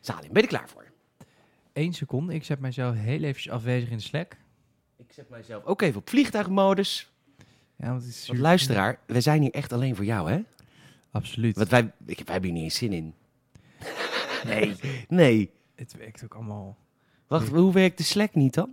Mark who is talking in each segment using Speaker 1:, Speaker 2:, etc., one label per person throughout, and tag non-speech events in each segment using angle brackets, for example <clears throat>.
Speaker 1: Salim, ben je er klaar voor?
Speaker 2: Eén seconde, ik zet mijzelf heel even afwezig in Slack.
Speaker 1: Ik zet mijzelf ook even op vliegtuigmodus.
Speaker 2: Ja, want het is
Speaker 1: Want
Speaker 2: super-
Speaker 1: luisteraar, we zijn hier echt alleen voor jou, hè?
Speaker 2: Absoluut.
Speaker 1: Want wij, ik, wij hebben hier niet eens zin in. Nee. Nee.
Speaker 2: Het werkt ook allemaal.
Speaker 1: Wacht, hoe werkt de Slack niet dan?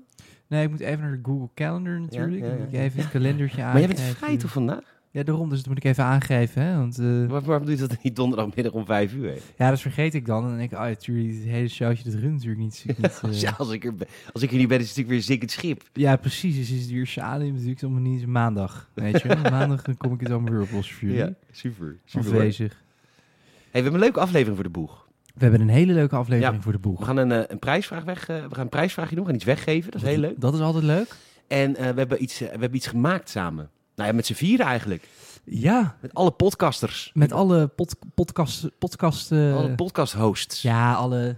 Speaker 2: Nee, ik moet even naar de Google Calendar natuurlijk.
Speaker 1: ja, ja.
Speaker 2: Dan moet ik even het kalendertje aan.
Speaker 1: Maar jij bent vrij toch vandaag?
Speaker 2: Ja, daarom, dus dat moet ik even aangeven. Hè, want, eh,
Speaker 1: Waar- waarom doe je dat dan niet donderdagmiddag om vijf uur? hè?
Speaker 2: ja, dat vergeet ik dan. En dan denk ik, oh, ja, tuurlijk, het hele showtje, dat runt natuurlijk niet. Is niet
Speaker 1: <laughs>
Speaker 2: eh,
Speaker 1: <laughs> Ja, als ik, er, ben- als ik er niet ben, is het natuurlijk weer zinkend schip.
Speaker 2: Ja, precies. Dus is het weer Salim natuurlijk allemaal niet eens maandag. Weet je wel?
Speaker 1: <laughs>
Speaker 2: maandag dan kom ik het allemaal weer op los voor jullie.
Speaker 1: Ja, super. super hoor. hey,
Speaker 2: Afwezig.
Speaker 1: we hebben een leuke aflevering voor de boeg.
Speaker 2: We hebben een hele leuke aflevering voor de boeg.
Speaker 1: We gaan een, eh, een prijsvraag weg, eh, we gaan een prijsvraagje doen, we gaan iets weggeven. Dat is heel leuk.
Speaker 2: Dat is altijd leuk.
Speaker 1: En eh, we, hebben iets, eh, we hebben iets gemaakt samen. Nou ja, met z'n vieren eigenlijk.
Speaker 2: Ja,
Speaker 1: Met alle podcasters.
Speaker 2: met alle pod, podcast, podcast, eh,
Speaker 1: alle podcasthosts.
Speaker 2: ja, alle,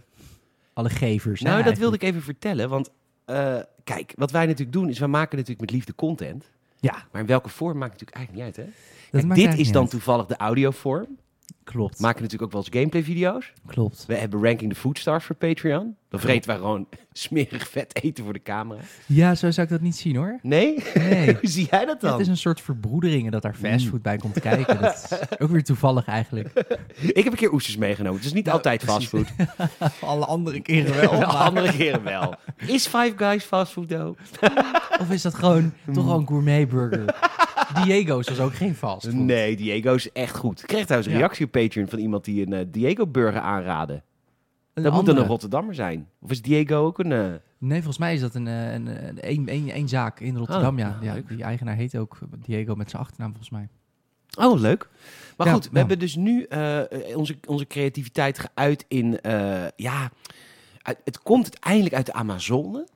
Speaker 2: alle gevers.
Speaker 1: Nou, dat wilde ik even vertellen, want eh, kijk, wat wij natuurlijk doen is, wij maken natuurlijk met liefde content.
Speaker 2: Ja,
Speaker 1: Maar in welke vorm maakt natuurlijk eigenlijk niet uit, hè?
Speaker 2: dat
Speaker 1: Kijk,
Speaker 2: maakt
Speaker 1: dit
Speaker 2: eigenlijk
Speaker 1: is
Speaker 2: niet
Speaker 1: dan
Speaker 2: uit.
Speaker 1: toevallig de audiovorm.
Speaker 2: Klopt,
Speaker 1: We maken natuurlijk ook wel eens gameplay-video's.
Speaker 2: klopt.
Speaker 1: We hebben Ranking the Foodstars voor Patreon. Dan vreten wij gewoon <laughs> smerig vet eten voor de camera.
Speaker 2: Ja, zo zou ik dat niet zien hoor.
Speaker 1: Nee? <laughs>
Speaker 2: Nee.
Speaker 1: Hoe zie jij dat
Speaker 2: Het
Speaker 1: dan?
Speaker 2: is een soort verbroederingen dat daar fastfood bij komt kijken. Dat is ook weer toevallig eigenlijk.
Speaker 1: Ik heb een keer oesters meegenomen. Het is niet
Speaker 2: Nou,
Speaker 1: altijd
Speaker 2: precies. <laughs>
Speaker 1: fastfood.
Speaker 2: Alle andere keren wel.
Speaker 1: De
Speaker 2: maar-
Speaker 1: andere keren wel. Is Five Guys fastfood, though?
Speaker 2: Of is dat gewoon toch al een gourmetburger? Diego's was ook geen fastfood.
Speaker 1: Nee, Diego is echt goed. Ik kreeg trouwens een
Speaker 2: Ja.
Speaker 1: reactie op Patreon van iemand die een eh, Diego-burger aanraadde.
Speaker 2: Een
Speaker 1: Dat moet dan
Speaker 2: andere.
Speaker 1: een Rotterdammer zijn. Of is Diego ook een... eh,
Speaker 2: Nee, volgens mij is dat een, eh, een, eh, een, een, een, een zaak in Rotterdam.
Speaker 1: Oh,
Speaker 2: ja.
Speaker 1: nou,
Speaker 2: ja
Speaker 1: leuk.
Speaker 2: die eigenaar heet ook Diego met zijn achternaam volgens mij.
Speaker 1: Oh, leuk. Maar
Speaker 2: Ja,
Speaker 1: goed, we
Speaker 2: ja.
Speaker 1: hebben dus nu eh, onze, onze creativiteit geuit in... eh, ja, uit- het komt uiteindelijk uit de Amazone.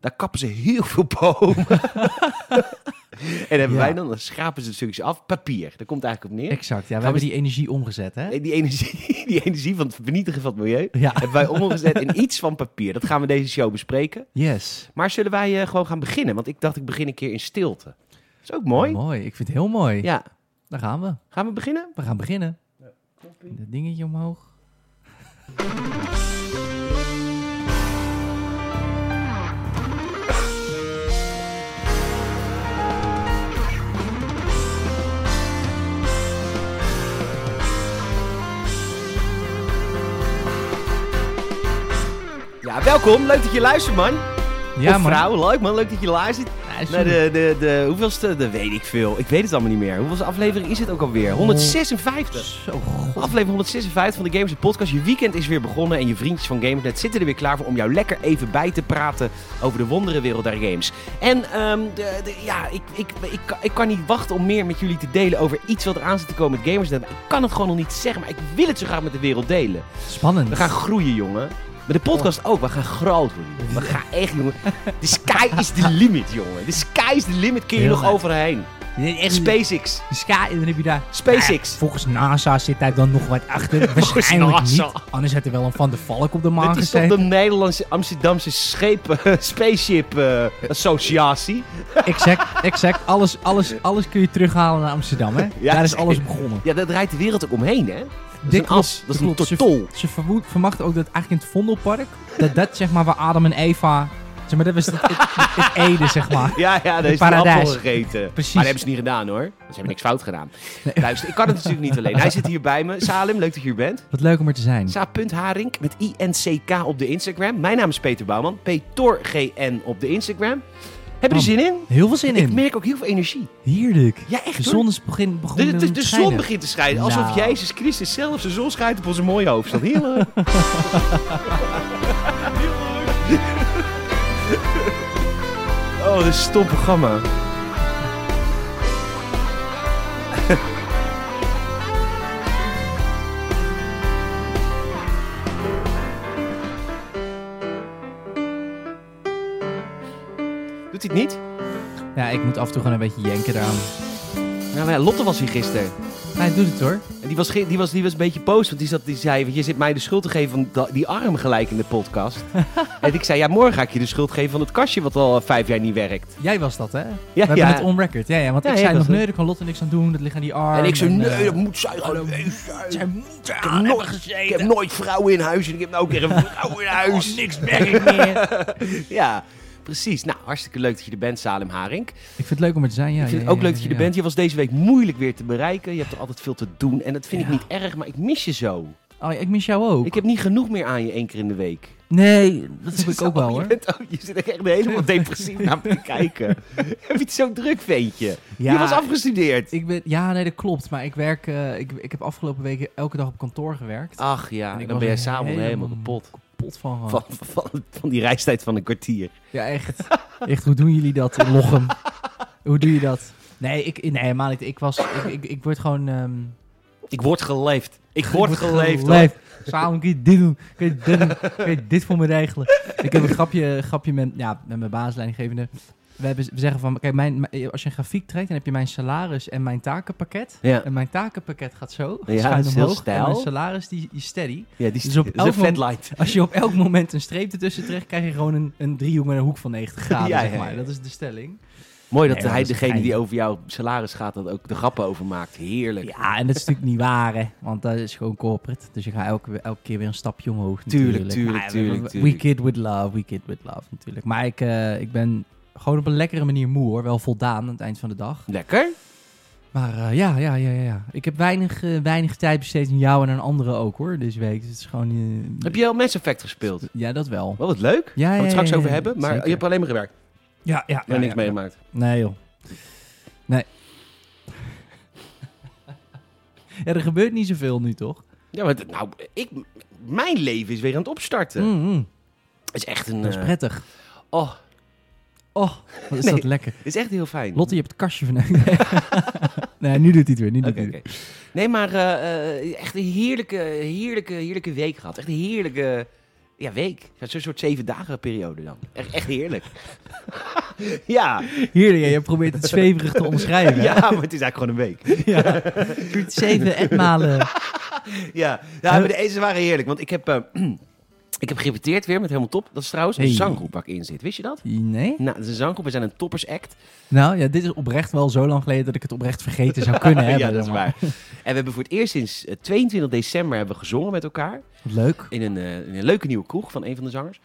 Speaker 1: Daar kappen ze heel veel bomen. <laughs> en hebben
Speaker 2: Ja.
Speaker 1: wij dan, dan schrapen ze de stukjes af. Papier, daar komt het eigenlijk op neer.
Speaker 2: Exact. Ja, we
Speaker 1: Gaan we
Speaker 2: hebben die energie omgezet, hè?
Speaker 1: En Die energie, <laughs> die energie van het vernietigen van het milieu...
Speaker 2: Ja.
Speaker 1: hebben wij omgezet in iets van papier. Dat gaan we deze show bespreken.
Speaker 2: Yes.
Speaker 1: Maar zullen wij eh, gewoon gaan beginnen? Want ik dacht, ik begin een keer in stilte. Dat is ook mooi.
Speaker 2: Mooi. Ik vind het heel mooi.
Speaker 1: Ja,
Speaker 2: Daar gaan we.
Speaker 1: gaan we beginnen?
Speaker 2: We gaan beginnen. Dat dingetje omhoog.
Speaker 1: Ja, welkom. Leuk dat je luistert, man.
Speaker 2: Ja,
Speaker 1: of
Speaker 2: man.
Speaker 1: vrouw, leuk man, leuk dat je luistert.
Speaker 2: Ja, is
Speaker 1: Naar
Speaker 2: goed.
Speaker 1: de, de, de hoeveelste, de weet ik veel. Ik weet het allemaal niet meer. Hoeveelste aflevering is het ook alweer? 156.
Speaker 2: Zo, god.
Speaker 1: Aflevering 156 van de Gamers Podcast. Je weekend is weer begonnen en je vriendjes van Gamersnet zitten er weer klaar voor om jou lekker even bij te praten over de wonderenwereld der games. En ehm, de, de- ja, ik, ik, ik, kan- ik kan niet wachten om meer met jullie te delen over iets wat eraan zit te komen met Gamersnet. Ik kan het gewoon nog niet zeggen, maar ik wil het zo graag met de wereld delen.
Speaker 2: Spannend.
Speaker 1: We gaan groeien, jongen. Maar de podcast ook. We gaan groot worden. We gaan echt, jongen. De sky is the limit, jongen. De sky is the limit. Kun je
Speaker 2: Heel
Speaker 1: nog
Speaker 2: leuk.
Speaker 1: overheen.
Speaker 2: Dit is echt
Speaker 1: SpaceX.
Speaker 2: de ska en dan heb je daar...
Speaker 1: SpaceX.
Speaker 2: Nou ja, volgens NASA zit daar dan nog wat
Speaker 1: <laughs>
Speaker 2: achter. Waarschijnlijk
Speaker 1: NASA.
Speaker 2: niet. Anders had er wel een Van de Valk op de maan
Speaker 1: Dit is toch de
Speaker 2: gezeten.
Speaker 1: Nederlandse Amsterdamse schepen, <laughs> spaceship eh, associatie.
Speaker 2: Exact, exact. Alles, alles, alles kun je terughalen naar Amsterdam, hè?
Speaker 1: Ja,
Speaker 2: daar is
Speaker 1: zeker.
Speaker 2: alles begonnen.
Speaker 1: Ja, daar draait de wereld ook omheen, hè? Dat is
Speaker 2: Dit
Speaker 1: een as.
Speaker 2: klopt,
Speaker 1: Dat is een
Speaker 2: klopt. Ze-
Speaker 1: tortol.
Speaker 2: Ze vermoed- vermachten ook dat eigenlijk in het Vondelpark, dat dat zeg maar waar Adam en Eva, zeg maar dat was het, het, het Ede zeg maar.
Speaker 1: Ja, ja, daar
Speaker 2: De
Speaker 1: is een appel
Speaker 2: paradijs.
Speaker 1: gegeten.
Speaker 2: Precies.
Speaker 1: Maar dat hebben ze niet gedaan, hoor. Ze hebben niks fout gedaan. Luister, ik kan het natuurlijk niet alleen. Hij zit hier bij me. Salim, leuk dat je hier bent.
Speaker 2: Wat leuk om er te zijn.
Speaker 1: Sa.Harink met INCK op de Instagram. Mijn naam is Peter Bouwman. PetorGN op de Instagram. Hebben
Speaker 2: Man,
Speaker 1: jullie zin in?
Speaker 2: Heel veel zin
Speaker 1: Ik
Speaker 2: in.
Speaker 1: merk ook heel veel energie.
Speaker 2: Heerlijk.
Speaker 1: Ja, echt
Speaker 2: De
Speaker 1: hoor.
Speaker 2: zon is begin,
Speaker 1: De,
Speaker 2: begonnen
Speaker 1: de, de,
Speaker 2: te
Speaker 1: zon
Speaker 2: schijnen.
Speaker 1: begint te schijnen. Alsof
Speaker 2: Nou.
Speaker 1: Jezus Christus zelf de zon schijnt op onze mooie hoofdstad. Heel leuk. Heel leuk. <laughs> Oh, dit is een stom programma. Doet hij het niet?
Speaker 2: Ja, ik moet af en toe gewoon een beetje jenken eraan.
Speaker 1: Nou ja, Lotte was hier gisteren.
Speaker 2: Hij doet het hoor.
Speaker 1: En die was, ge- die was, die was een beetje boos, want die, zat, die zei... Je zit mij de schuld te geven van da- die arm gelijk in de
Speaker 2: <laughs>
Speaker 1: podcast. en ik zei, ja, morgen ga ik je de schuld geven van het kastje wat al eh, vijf jaar niet werkt.
Speaker 2: Jij was dat, hè? We
Speaker 1: Ja,
Speaker 2: hebben
Speaker 1: ja.
Speaker 2: het on record. Ja, ja want
Speaker 1: Ja,
Speaker 2: ik
Speaker 1: jij
Speaker 2: zei
Speaker 1: was
Speaker 2: nog,
Speaker 1: het.
Speaker 2: nee, daar kan Lotte niks aan doen. Dat ligt aan die arm.
Speaker 1: en ik zo,
Speaker 2: eh,
Speaker 1: nee, dat
Speaker 2: <laughs>
Speaker 1: moet zuigen.
Speaker 2: hallo,
Speaker 1: Nee, zuigen.
Speaker 2: Zijn moeder
Speaker 1: Ik heb, nooit, ik heb nooit vrouwen in huis en ik heb nou ook weer
Speaker 2: <laughs>
Speaker 1: een vrouw in huis.
Speaker 2: Oh, niks werk meer.
Speaker 1: <laughs> Ja, precies. Nou, hartstikke leuk dat je er bent, Salem Haring.
Speaker 2: Ik vind het leuk om er te zijn, ja.
Speaker 1: ik vind
Speaker 2: ja,
Speaker 1: het ook
Speaker 2: ja,
Speaker 1: leuk
Speaker 2: ja,
Speaker 1: dat je er
Speaker 2: ja.
Speaker 1: bent. Je was deze week moeilijk weer te bereiken. Je hebt er altijd veel te doen. En dat vind ik
Speaker 2: Ja.
Speaker 1: niet erg, maar ik mis je zo.
Speaker 2: Oh, ik mis jou ook.
Speaker 1: Ik heb niet genoeg meer aan je één keer in de week.
Speaker 2: Nee,
Speaker 1: <laughs>
Speaker 2: dat heb ik ook wel,
Speaker 1: Je,
Speaker 2: hoor.
Speaker 1: bent ook- je zit er echt
Speaker 2: <laughs>
Speaker 1: helemaal depressief naar me te kijken. Heb je het zo druk, ventje?
Speaker 2: Ja,
Speaker 1: Je was afgestudeerd.
Speaker 2: ik ben, ja, nee, dat klopt. Maar ik, werk, eh, ik, ik heb afgelopen weken elke dag op kantoor gewerkt.
Speaker 1: Ach ja,
Speaker 2: En
Speaker 1: dan
Speaker 2: ik was Oh.
Speaker 1: ben jij
Speaker 2: er
Speaker 1: samen helemaal, kapot.
Speaker 2: Kapot van gewoon.
Speaker 1: Ah. Van, van, van die reistijd van een kwartier.
Speaker 2: Ja,
Speaker 1: <laughs>
Speaker 2: echt. Echt, hoe doen jullie dat in Lochem? hoe doe je dat? Nee, ik, nee helemaal niet. Ik, was, ik, ik, ik word gewoon... ehm,
Speaker 1: Ik word geleefd.
Speaker 2: <laughs>
Speaker 1: Ik word geleefd. hoor.
Speaker 2: Geleefd. Samen kun je dit doen. Kun je dit, doen. Kun je dit voor me regelen. Ik heb een grapje, grapje met, ja, met mijn baaslijngevende. We, hebben, we zeggen van, kijk, mijn, mijn- als je een grafiek trekt, dan heb je mijn salaris en mijn takenpakket.
Speaker 1: Ja.
Speaker 2: En mijn takenpakket gaat zo,
Speaker 1: Ja,
Speaker 2: schuin
Speaker 1: dat is heel
Speaker 2: omhoog. En mijn
Speaker 1: stijl.
Speaker 2: salaris, die, die is steady.
Speaker 1: Ja, die
Speaker 2: Dus op
Speaker 1: dat
Speaker 2: elk
Speaker 1: is een
Speaker 2: moment-
Speaker 1: fatlight.
Speaker 2: Als je op elk moment een streep ertussen trekt, krijg je gewoon een, een driehoek met een hoek
Speaker 1: <laughs>
Speaker 2: van 90 graden,
Speaker 1: Ja,
Speaker 2: zeg
Speaker 1: ja,
Speaker 2: maar.
Speaker 1: ja.
Speaker 2: Dat is de stelling.
Speaker 1: Mooi dat
Speaker 2: Nee, maar
Speaker 1: hij,
Speaker 2: dat is
Speaker 1: degene die
Speaker 2: fijn.
Speaker 1: over jouw salaris gaat, dat ook de grappen over maakt. Heerlijk.
Speaker 2: Ja, en dat is natuurlijk niet waar, hè. Want dat is gewoon corporate. Dus je gaat elke, elke keer weer een stapje omhoog
Speaker 1: Tuurlijk,
Speaker 2: natuurlijk.
Speaker 1: tuurlijk,
Speaker 2: Maar we-
Speaker 1: tuurlijk,
Speaker 2: we-
Speaker 1: tuurlijk.
Speaker 2: We kid with love, we kid with love natuurlijk. Maar ik, eh, ik ben gewoon op een lekkere manier moe, hoor. Wel voldaan aan het eind van de dag.
Speaker 1: Lekker.
Speaker 2: Maar eh, ja, ja, ja, ja, ja. Ik heb weinig, eh, weinig tijd besteed aan jou en aan anderen ook, hoor. Deze week. Dus het is gewoon... eh,
Speaker 1: Heb je al Mass Effect gespeeld?
Speaker 2: Ja, dat wel.
Speaker 1: Wel wat leuk.
Speaker 2: Ja,
Speaker 1: Gaan we
Speaker 2: ja,
Speaker 1: het straks
Speaker 2: ja,
Speaker 1: over
Speaker 2: ja,
Speaker 1: hebben. Maar
Speaker 2: zeker.
Speaker 1: je hebt alleen maar gewerkt.
Speaker 2: Ja, ja.
Speaker 1: Ja,
Speaker 2: ja,
Speaker 1: niks
Speaker 2: ja.
Speaker 1: meegemaakt.
Speaker 2: Nee, joh. Nee. <laughs> ja, er gebeurt niet zoveel nu, toch?
Speaker 1: Ja, maar d- nou, ik, mijn leven is weer aan het opstarten.
Speaker 2: Mm, mm.
Speaker 1: Het is echt een...
Speaker 2: Dat is
Speaker 1: eh,
Speaker 2: prettig.
Speaker 1: oh,
Speaker 2: Oh, wat is
Speaker 1: Nee.
Speaker 2: dat lekker.
Speaker 1: het is echt heel fijn.
Speaker 2: Lotte, je hebt het <laughs> kastje van... nee, nu doet hij het weer. Nu doet
Speaker 1: Oké,
Speaker 2: hij het
Speaker 1: oké. Nee, maar eh, eh, echt een heerlijke, heerlijke, heerlijke week gehad. Echt een heerlijke ja, week. Ja, Zo'n soort zeven dagen periode dan. Echt, echt heerlijk. <laughs> ja,
Speaker 2: weer. Heerlijk, hè? je probeert het zweverig te <laughs> omschrijven.
Speaker 1: ja, maar het is eigenlijk gewoon een week.
Speaker 2: ja. Doet zeven etmalen.
Speaker 1: Ja, ja maar de ezen waren heerlijk. Want ik heb, eh, <clears throat> ik heb gerepeteerd weer met Helemaal Top. Dat is trouwens een
Speaker 2: Hey.
Speaker 1: zanggroep waar ik in zit. Wist je dat?
Speaker 2: Nee?
Speaker 1: Nou, dat is een zanggroep. We zijn een toppersact.
Speaker 2: Nou, ja, dit is oprecht wel zo lang geleden dat ik het oprecht vergeten zou kunnen
Speaker 1: <laughs>
Speaker 2: hebben.
Speaker 1: ja, dat is
Speaker 2: zeg
Speaker 1: waar.
Speaker 2: maar.
Speaker 1: En we hebben voor het eerst sinds eh, 22 december hebben we gezongen met elkaar.
Speaker 2: Wat leuk.
Speaker 1: In een, eh, in een leuke nieuwe kroeg van een van de zangers.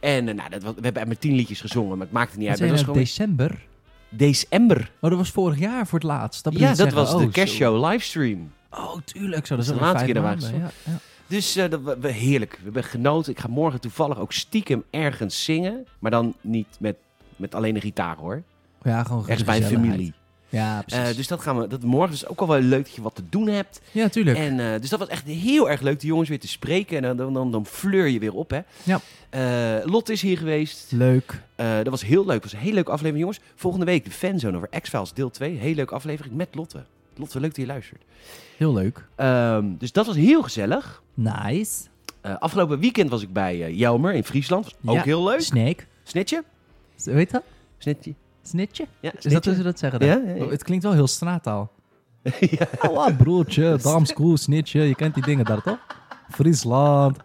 Speaker 1: En eh, nou, dat, was- we hebben met tien liedjes gezongen, maar het maakte niet
Speaker 2: Het
Speaker 1: uit.
Speaker 2: zijn
Speaker 1: Maar
Speaker 2: uit
Speaker 1: Het was gewoon
Speaker 2: december.
Speaker 1: december.
Speaker 2: Oh, dat was vorig jaar voor het laatst. Dat bedoel
Speaker 1: ja,
Speaker 2: ik
Speaker 1: dat
Speaker 2: zeggen.
Speaker 1: was
Speaker 2: Oh,
Speaker 1: de
Speaker 2: zo.
Speaker 1: kerstshow livestream.
Speaker 2: Oh, tuurlijk. Zo, dat is
Speaker 1: Dat is
Speaker 2: al
Speaker 1: de laatste
Speaker 2: vijf
Speaker 1: keer dat we
Speaker 2: maanden. Ja, ja.
Speaker 1: Dus eh, dat, we, we- heerlijk. We hebben genoten. Ik ga morgen toevallig ook stiekem ergens zingen. Maar dan niet met, met alleen de gitaar hoor.
Speaker 2: ja, gewoon
Speaker 1: Ergens bij een
Speaker 2: Oh, gezelligheid.
Speaker 1: familie.
Speaker 2: Ja,
Speaker 1: Eh,
Speaker 2: precies.
Speaker 1: dus dat gaan we. Dat morgen is ook al wel leuk dat je wat te doen hebt.
Speaker 2: ja, tuurlijk.
Speaker 1: En, eh, dus dat was echt heel erg leuk, de jongens weer te spreken. En dan, dan, dan, dan fleur je weer op, hè.
Speaker 2: Ja.
Speaker 1: Eh, Lotte is hier geweest.
Speaker 2: Leuk.
Speaker 1: Eh, dat was heel leuk. Dat was een hele leuke aflevering, jongens. Volgende week de fanzone over X-Files deel 2. Heel leuke aflevering met Lotte. Lotte, leuk dat je luistert.
Speaker 2: Heel leuk.
Speaker 1: Ehm, dus dat was heel gezellig.
Speaker 2: Nice.
Speaker 1: Eh, afgelopen weekend was ik bij eh, Jelmer in Friesland. Was ook
Speaker 2: Ja.
Speaker 1: heel leuk.
Speaker 2: Snake.
Speaker 1: Snitje?
Speaker 2: Weet dat?
Speaker 1: Snitje?
Speaker 2: Snitje?
Speaker 1: Ja,
Speaker 2: Is dat
Speaker 1: snitje.
Speaker 2: hoe ze dat zeggen?
Speaker 1: Ja,
Speaker 2: dan?
Speaker 1: ja, ja.
Speaker 2: Oh, Het klinkt wel heel
Speaker 1: <laughs>
Speaker 2: straattaal. ja. Oh, broertje, damskoel, snitje. Je kent die dingen daar toch? Friesland.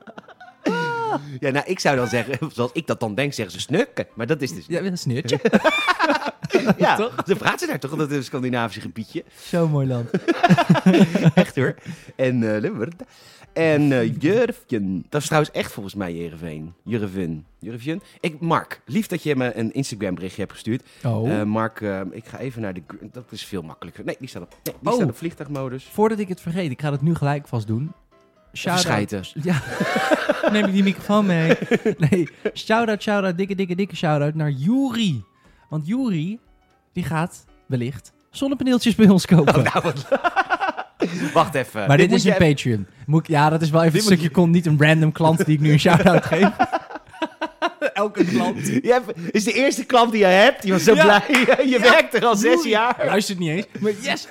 Speaker 1: ja, nou, ik zou dan zeggen, <laughs> zoals ik dat dan denk, zeggen ze snukken. Maar dat is dus...
Speaker 2: Ja,
Speaker 1: <laughs>
Speaker 2: een snitje.
Speaker 1: Ja,
Speaker 2: toch?
Speaker 1: ze praten ze daar toch, dat is een Scandinavische gebiedje.
Speaker 2: Zo mooi land.
Speaker 1: Echt hoor. En eh Limburg. En eh Jurfjen. Dat is trouwens echt volgens mij Jereveen. Jurven. Jurfjen. Ik, Mark, lief dat je me een Instagram berichtje hebt gestuurd.
Speaker 2: Oh.
Speaker 1: Eh, Mark, eh, ik ga even naar de... gr- Dat is veel makkelijker. Nee, die staat op, nee, die
Speaker 2: Oh.
Speaker 1: staat op vliegtuigmodus.
Speaker 2: Voordat ik het vergeet, ik ga dat nu gelijk vast doen. Shout-out.
Speaker 1: Schijten.
Speaker 2: Ja, <laughs> neem ik die microfoon mee. Nee, shout-out, shout-out, dikke, dikke, dikke shout-out naar Juri. Want Juri, die gaat wellicht zonnepaneeltjes bij ons kopen.
Speaker 1: Wacht even.
Speaker 2: Maar dit,
Speaker 1: moet
Speaker 2: is
Speaker 1: je
Speaker 2: een
Speaker 1: even-
Speaker 2: Patreon. Moet ik- ja, dat is wel even
Speaker 1: Dit
Speaker 2: een
Speaker 1: moet
Speaker 2: stukje kon. Niet een random klant die ik nu een shout-out geef. Elke klant.
Speaker 1: <laughs> Je hebt- is de eerste klant die je hebt. Je was zo
Speaker 2: Ja.
Speaker 1: blij. <laughs> Je werkt er al zes
Speaker 2: Joeri.
Speaker 1: jaar.
Speaker 2: Luistert niet eens. Maar yes.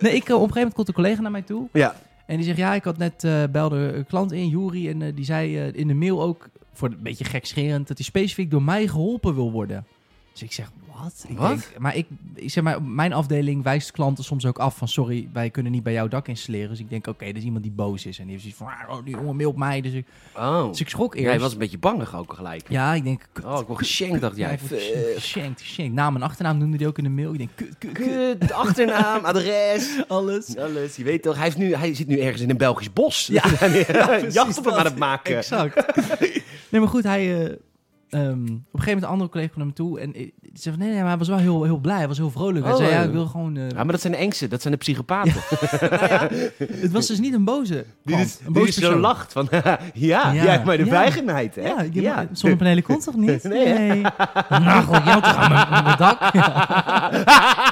Speaker 2: Nee, ik, eh, op een gegeven moment komt een collega naar mij toe.
Speaker 1: Ja.
Speaker 2: En die zegt, ja, ik had net, eh, belde een klant in, Juri. En eh, die zei eh, in de mail ook, voor een beetje gekscherend, dat hij specifiek door mij geholpen wil worden. Dus ik zeg, wat? Ik
Speaker 1: Wat?
Speaker 2: denk- Maar ik, ik zeg maar, mijn afdeling wijst klanten soms ook af van, sorry, wij kunnen niet bij jouw dak installeren. Dus ik denk, oké, dat is iemand die boos is. En die heeft zoiets van, ah, oh, die jongen mailt mij. Dus ik,
Speaker 1: Oh.
Speaker 2: dus ik schrok eerst.
Speaker 1: Jij was een beetje bangig ook gelijk.
Speaker 2: Ja, ik denk, kut.
Speaker 1: Oh, ik word geshankt, dacht jij.
Speaker 2: Ja, ik word geshankt, geshankt, geshankt. Naam en achternaam noemde hij ook in de mail. Ik denk, kut, kut, kut.
Speaker 1: Kut, achternaam, adres.
Speaker 2: Alles.
Speaker 1: Alles, je weet toch. Hij, heeft nu, hij zit nu ergens in een Belgisch bos. <laughs>
Speaker 2: Ja, precies
Speaker 1: jacht op hem
Speaker 2: dat.
Speaker 1: aan het maken.
Speaker 2: Exact.
Speaker 1: <laughs>
Speaker 2: nee, maar goed, hij... eh, ehm, op een gegeven moment een andere collega kwam naar me toe en eh, die zei van nee, nee, maar hij was wel heel, heel blij, hij was heel vrolijk. Hij
Speaker 1: Oh,
Speaker 2: zei ja,
Speaker 1: eh.
Speaker 2: ik wil gewoon... eh,
Speaker 1: Ja, maar dat zijn de engsten, dat zijn de psychopaten.
Speaker 2: Het was dus niet een boze
Speaker 1: Die,
Speaker 2: klant,
Speaker 1: dus-
Speaker 2: een
Speaker 1: die
Speaker 2: boze
Speaker 1: dus zo
Speaker 2: persoon.
Speaker 1: lacht van, <laughs> ja, jij hebt mij de
Speaker 2: ja.
Speaker 1: weigenheid, hè?
Speaker 2: Ja, je-
Speaker 1: <laughs>
Speaker 2: zonnepanelen kon toch niet?
Speaker 1: Nee, hè?
Speaker 2: nee. Nou, god, jou toch aan mijn- aan mijn dak? Ja.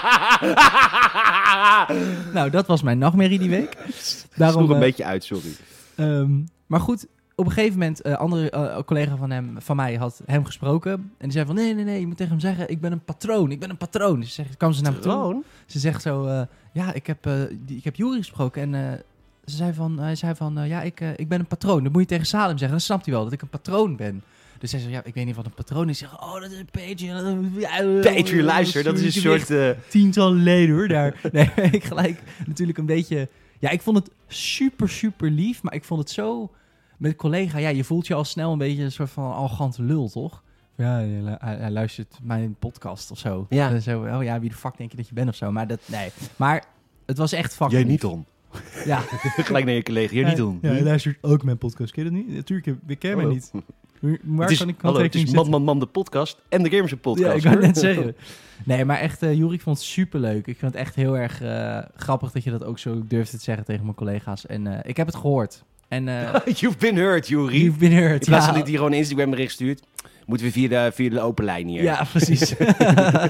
Speaker 2: Nou, dat was mijn nachtmerrie die week.
Speaker 1: Daarom
Speaker 2: Daarom,
Speaker 1: nog een
Speaker 2: eh,
Speaker 1: beetje uit, sorry.
Speaker 2: Ehm, maar goed, op een gegeven moment, een andere eh, collega van, hem, van mij had hem gesproken. En die zei van, nee, nee, nee, je moet tegen hem zeggen, ik ben een patroon, ik ben een patroon. Dus ze zegt, kwam ze naar me toe.
Speaker 1: Gewoon.
Speaker 2: Ze zegt zo, eh, ja, ik heb, eh, die- ik heb Jury gesproken en... eh, ze zei van, hij zei van, eh, ja, ik, eh, ik ben een patroon. Dat moet je tegen Salem zeggen. Dan snapt hij wel dat ik een patroon ben. Dus hij zei, ja, ik weet niet wat een patroon is. Ik zeg, oh, dat is een Patreon.
Speaker 1: Patreon, luister, dat is een soort... eh,
Speaker 2: Tiental leden hoor, daar. <laughs> Nee, ik gelijk natuurlijk een beetje... Ja, ik vond het super, super lief, maar ik vond het zo... Met collega, ja, je voelt je al snel een beetje een soort van arrogante lul, toch? Ja, hij lu- hij, hij luistert mijn podcast of zo.
Speaker 1: Ja.
Speaker 2: En zo, oh ja, wie de fuck denk je dat je bent of zo? Maar dat, nee. Maar het was echt fucking lief.
Speaker 1: om.
Speaker 2: Ja.
Speaker 1: <laughs> Gelijk naar je collega, jij niet om.
Speaker 2: Ja, hij luistert ook mijn podcast. Ken je dat niet? Natuurlijk, ik ken mij
Speaker 1: Hallo.
Speaker 2: niet. Maar
Speaker 1: Het is,
Speaker 2: kan
Speaker 1: hallo, het
Speaker 2: ik
Speaker 1: is
Speaker 2: handtekening
Speaker 1: Man
Speaker 2: zetten?
Speaker 1: Man Man de podcast en de Gamers podcast.
Speaker 2: Ja, ik kan
Speaker 1: hoor.
Speaker 2: net zeggen. Nee, maar echt, eh Jurik vond het superleuk. Ik vind het echt heel erg eh, grappig dat je dat ook zo durft te zeggen tegen mijn collega's. En eh, ik heb het gehoord. En eh
Speaker 1: <laughs> You've been hurt, Jury.
Speaker 2: you've been hurt.
Speaker 1: In plaats
Speaker 2: ja.
Speaker 1: van dat hij gewoon een Instagram bericht stuurt, moeten we via de, via de open lijn hier.
Speaker 2: Ja, precies.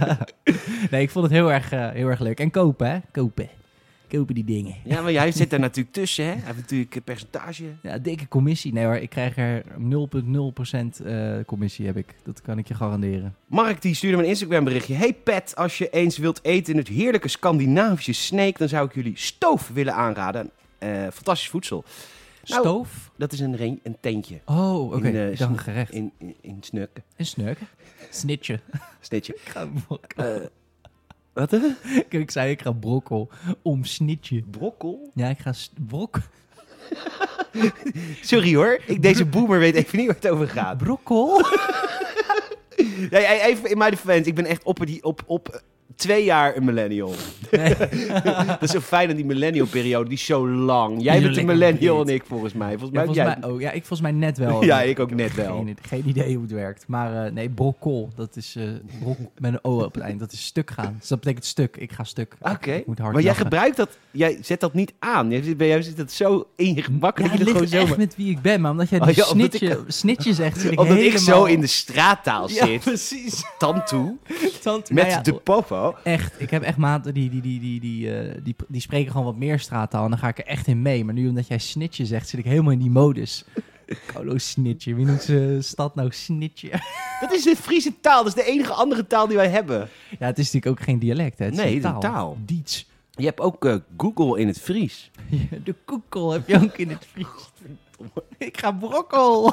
Speaker 1: <laughs>
Speaker 2: nee, ik vond het heel erg, eh, heel erg leuk. En kopen, hè? Kopen. Kopen die dingen.
Speaker 1: Ja, maar jij zit daar natuurlijk tussen, hè? Hij heeft natuurlijk een percentage.
Speaker 2: Ja, dikke commissie. Nee hoor, ik krijg er 0,0% eh, commissie heb ik. Dat kan ik je garanderen.
Speaker 1: Mark die stuurde me een Instagram berichtje. Hey Pat, als je eens wilt eten in het heerlijke Scandinavische Sneek, dan zou ik jullie stoof willen aanraden. Eh, fantastisch voedsel. Nou-
Speaker 2: Stoof?
Speaker 1: Dat is een, re- een tentje
Speaker 2: Oh, oké.
Speaker 1: In, eh,
Speaker 2: Ik dacht een
Speaker 1: sn-
Speaker 2: gerecht.
Speaker 1: in, in, in Snurken.
Speaker 2: Een snurk. Snitje.
Speaker 1: Snitje.
Speaker 2: Ik ga brokkel.
Speaker 1: Eh, wat hè?
Speaker 2: <laughs> Ik zei, ik ga brokkel om snitje.
Speaker 1: Brokkel?
Speaker 2: Ja, ik ga s- brok...
Speaker 1: Sorry hoor, ik, deze boomer weet even niet waar het over gaat.
Speaker 2: Brokkel?
Speaker 1: Ja, ja, even in mijn defense, ik ben echt op, die, op, op twee jaar een millennial.
Speaker 2: Nee.
Speaker 1: <laughs> dat is zo fijn aan die millennial periode, die is zo lang. Jij
Speaker 2: Zo
Speaker 1: bent een
Speaker 2: lekker
Speaker 1: millennial en
Speaker 2: breed.
Speaker 1: ik volgens mij. Volgens
Speaker 2: Ja,
Speaker 1: mij
Speaker 2: volgens
Speaker 1: heb
Speaker 2: mij, oh, ja, ik volgens mij net
Speaker 1: <laughs>
Speaker 2: wel.
Speaker 1: Ja, ik ook net
Speaker 2: heb
Speaker 1: wel.
Speaker 2: Geen, geen idee hoe het werkt. Maar eh, nee, brokkel, dat is eh,
Speaker 1: <laughs>
Speaker 2: brok met een O op het eind. Dat is stuk gaan. Dus dat betekent stuk. Ik ga stuk.
Speaker 1: Oké,
Speaker 2: Ik moet hard
Speaker 1: maar jij
Speaker 2: lachen.
Speaker 1: gebruikt dat, jij zet dat niet aan. Jij zit- Bij jou zit dat zo in je gemak
Speaker 2: Ja,
Speaker 1: dat je dat
Speaker 2: het ligt
Speaker 1: gewoon
Speaker 2: echt
Speaker 1: zo... maar-
Speaker 2: met wie ik ben, maar omdat jij
Speaker 1: Oh,
Speaker 2: die
Speaker 1: ja, omdat
Speaker 2: snitje, snitje zegt, zit ik
Speaker 1: Omdat ik
Speaker 2: helemaal...
Speaker 1: zo in de straattaal
Speaker 2: Ja,
Speaker 1: zit,
Speaker 2: precies.
Speaker 1: tantoe,
Speaker 2: Tante-
Speaker 1: met
Speaker 2: Nou ja,
Speaker 1: de popo.
Speaker 2: Echt, ik heb echt maten die, die, die, die, die, eh, die, die spreken gewoon wat meer straattaal. En dan ga ik er echt in mee. Maar nu omdat jij snitje zegt, zit ik helemaal in die modus. Kolo snitje. Wie noemt zijn stad nou snitje? <laughs>
Speaker 1: Dat is de Friese taal, dat is de enige andere taal die wij hebben.
Speaker 2: Ja, het is natuurlijk ook geen dialect, hè? Het
Speaker 1: Nee,
Speaker 2: is
Speaker 1: het is een
Speaker 2: een
Speaker 1: taal.
Speaker 2: taal. Diets.
Speaker 1: Je hebt ook eh, Google in het Fries.
Speaker 2: <laughs> De koekel heb je ook in het Fries. Ik ga brokkel. <laughs>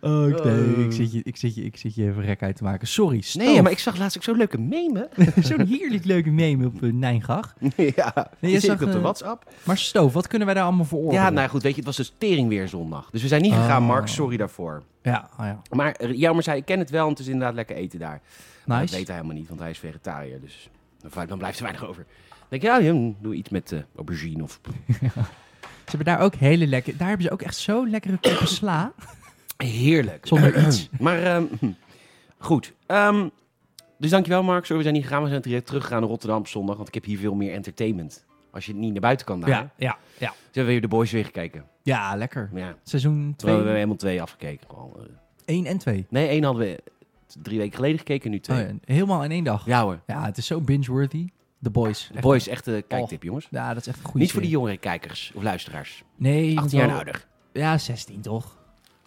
Speaker 2: Oh, ik, nee, ik, zit je, ik, zit je, ik zit je even rek uit te maken. Sorry, stoof.
Speaker 1: Nee, maar ik zag laatst ook zo'n leuke meme. hè?
Speaker 2: <laughs> Zo'n heerlijk leuke meme op uh,
Speaker 1: <laughs>
Speaker 2: Nijngag.
Speaker 1: ja,
Speaker 2: je
Speaker 1: nee, je zit
Speaker 2: zag,
Speaker 1: ik op de
Speaker 2: eh,
Speaker 1: WhatsApp.
Speaker 2: Maar stoof, wat kunnen wij daar allemaal voor
Speaker 1: Ja,
Speaker 2: oordelen?
Speaker 1: nou goed, weet je, het was dus tering weer zondag. Dus we zijn niet gegaan,
Speaker 2: Oh.
Speaker 1: Mark, sorry daarvoor.
Speaker 2: Ja, oh ja.
Speaker 1: Maar eh, jammer zei, ik ken het wel en het is inderdaad lekker eten daar. Maar Dat
Speaker 2: Nice.
Speaker 1: weet hij helemaal niet, want hij is vegetariër. Dus dan- dan blijft er weinig over. Dan denk je, ja, jong, doe iets met eh, aubergine of...
Speaker 2: Ze hebben daar ook hele lekker... Daar hebben ze ook echt zo lekkere koppen
Speaker 1: <coughs>
Speaker 2: sla.
Speaker 1: Heerlijk. <coughs>
Speaker 2: Zonder iets.
Speaker 1: Maar ehm, <laughs> goed. Ehm, dus dankjewel, Mark. Sorry, we zijn niet gegaan. We zijn direct teruggegaan naar Rotterdam op zondag. Want ik heb hier veel meer entertainment. Als je niet naar buiten kan daar.
Speaker 2: Ja, ja, ja.
Speaker 1: Dus hebben we weer de boys weer gekeken.
Speaker 2: Ja, lekker.
Speaker 1: Ja.
Speaker 2: Seizoen
Speaker 1: Terwijl we
Speaker 2: 2,
Speaker 1: hebben helemaal twee afgekeken. Gewoon, eh.
Speaker 2: 1 en 2.
Speaker 1: Nee, één hadden we drie weken geleden gekeken. Nu twee.
Speaker 2: Oh, ja, helemaal in één dag.
Speaker 1: ja. hoor.
Speaker 2: Ja, het is zo binge-worthy. The Boys.
Speaker 1: De boys, echt een kijktip, jongens.
Speaker 2: Ja, dat is echt een goede
Speaker 1: Niet voor die
Speaker 2: serie. nou-
Speaker 1: jongere kijkers of luisteraars.
Speaker 2: Nee, je moet
Speaker 1: 18 jaar en
Speaker 2: wel-
Speaker 1: ouder.
Speaker 2: Ja, 16 toch?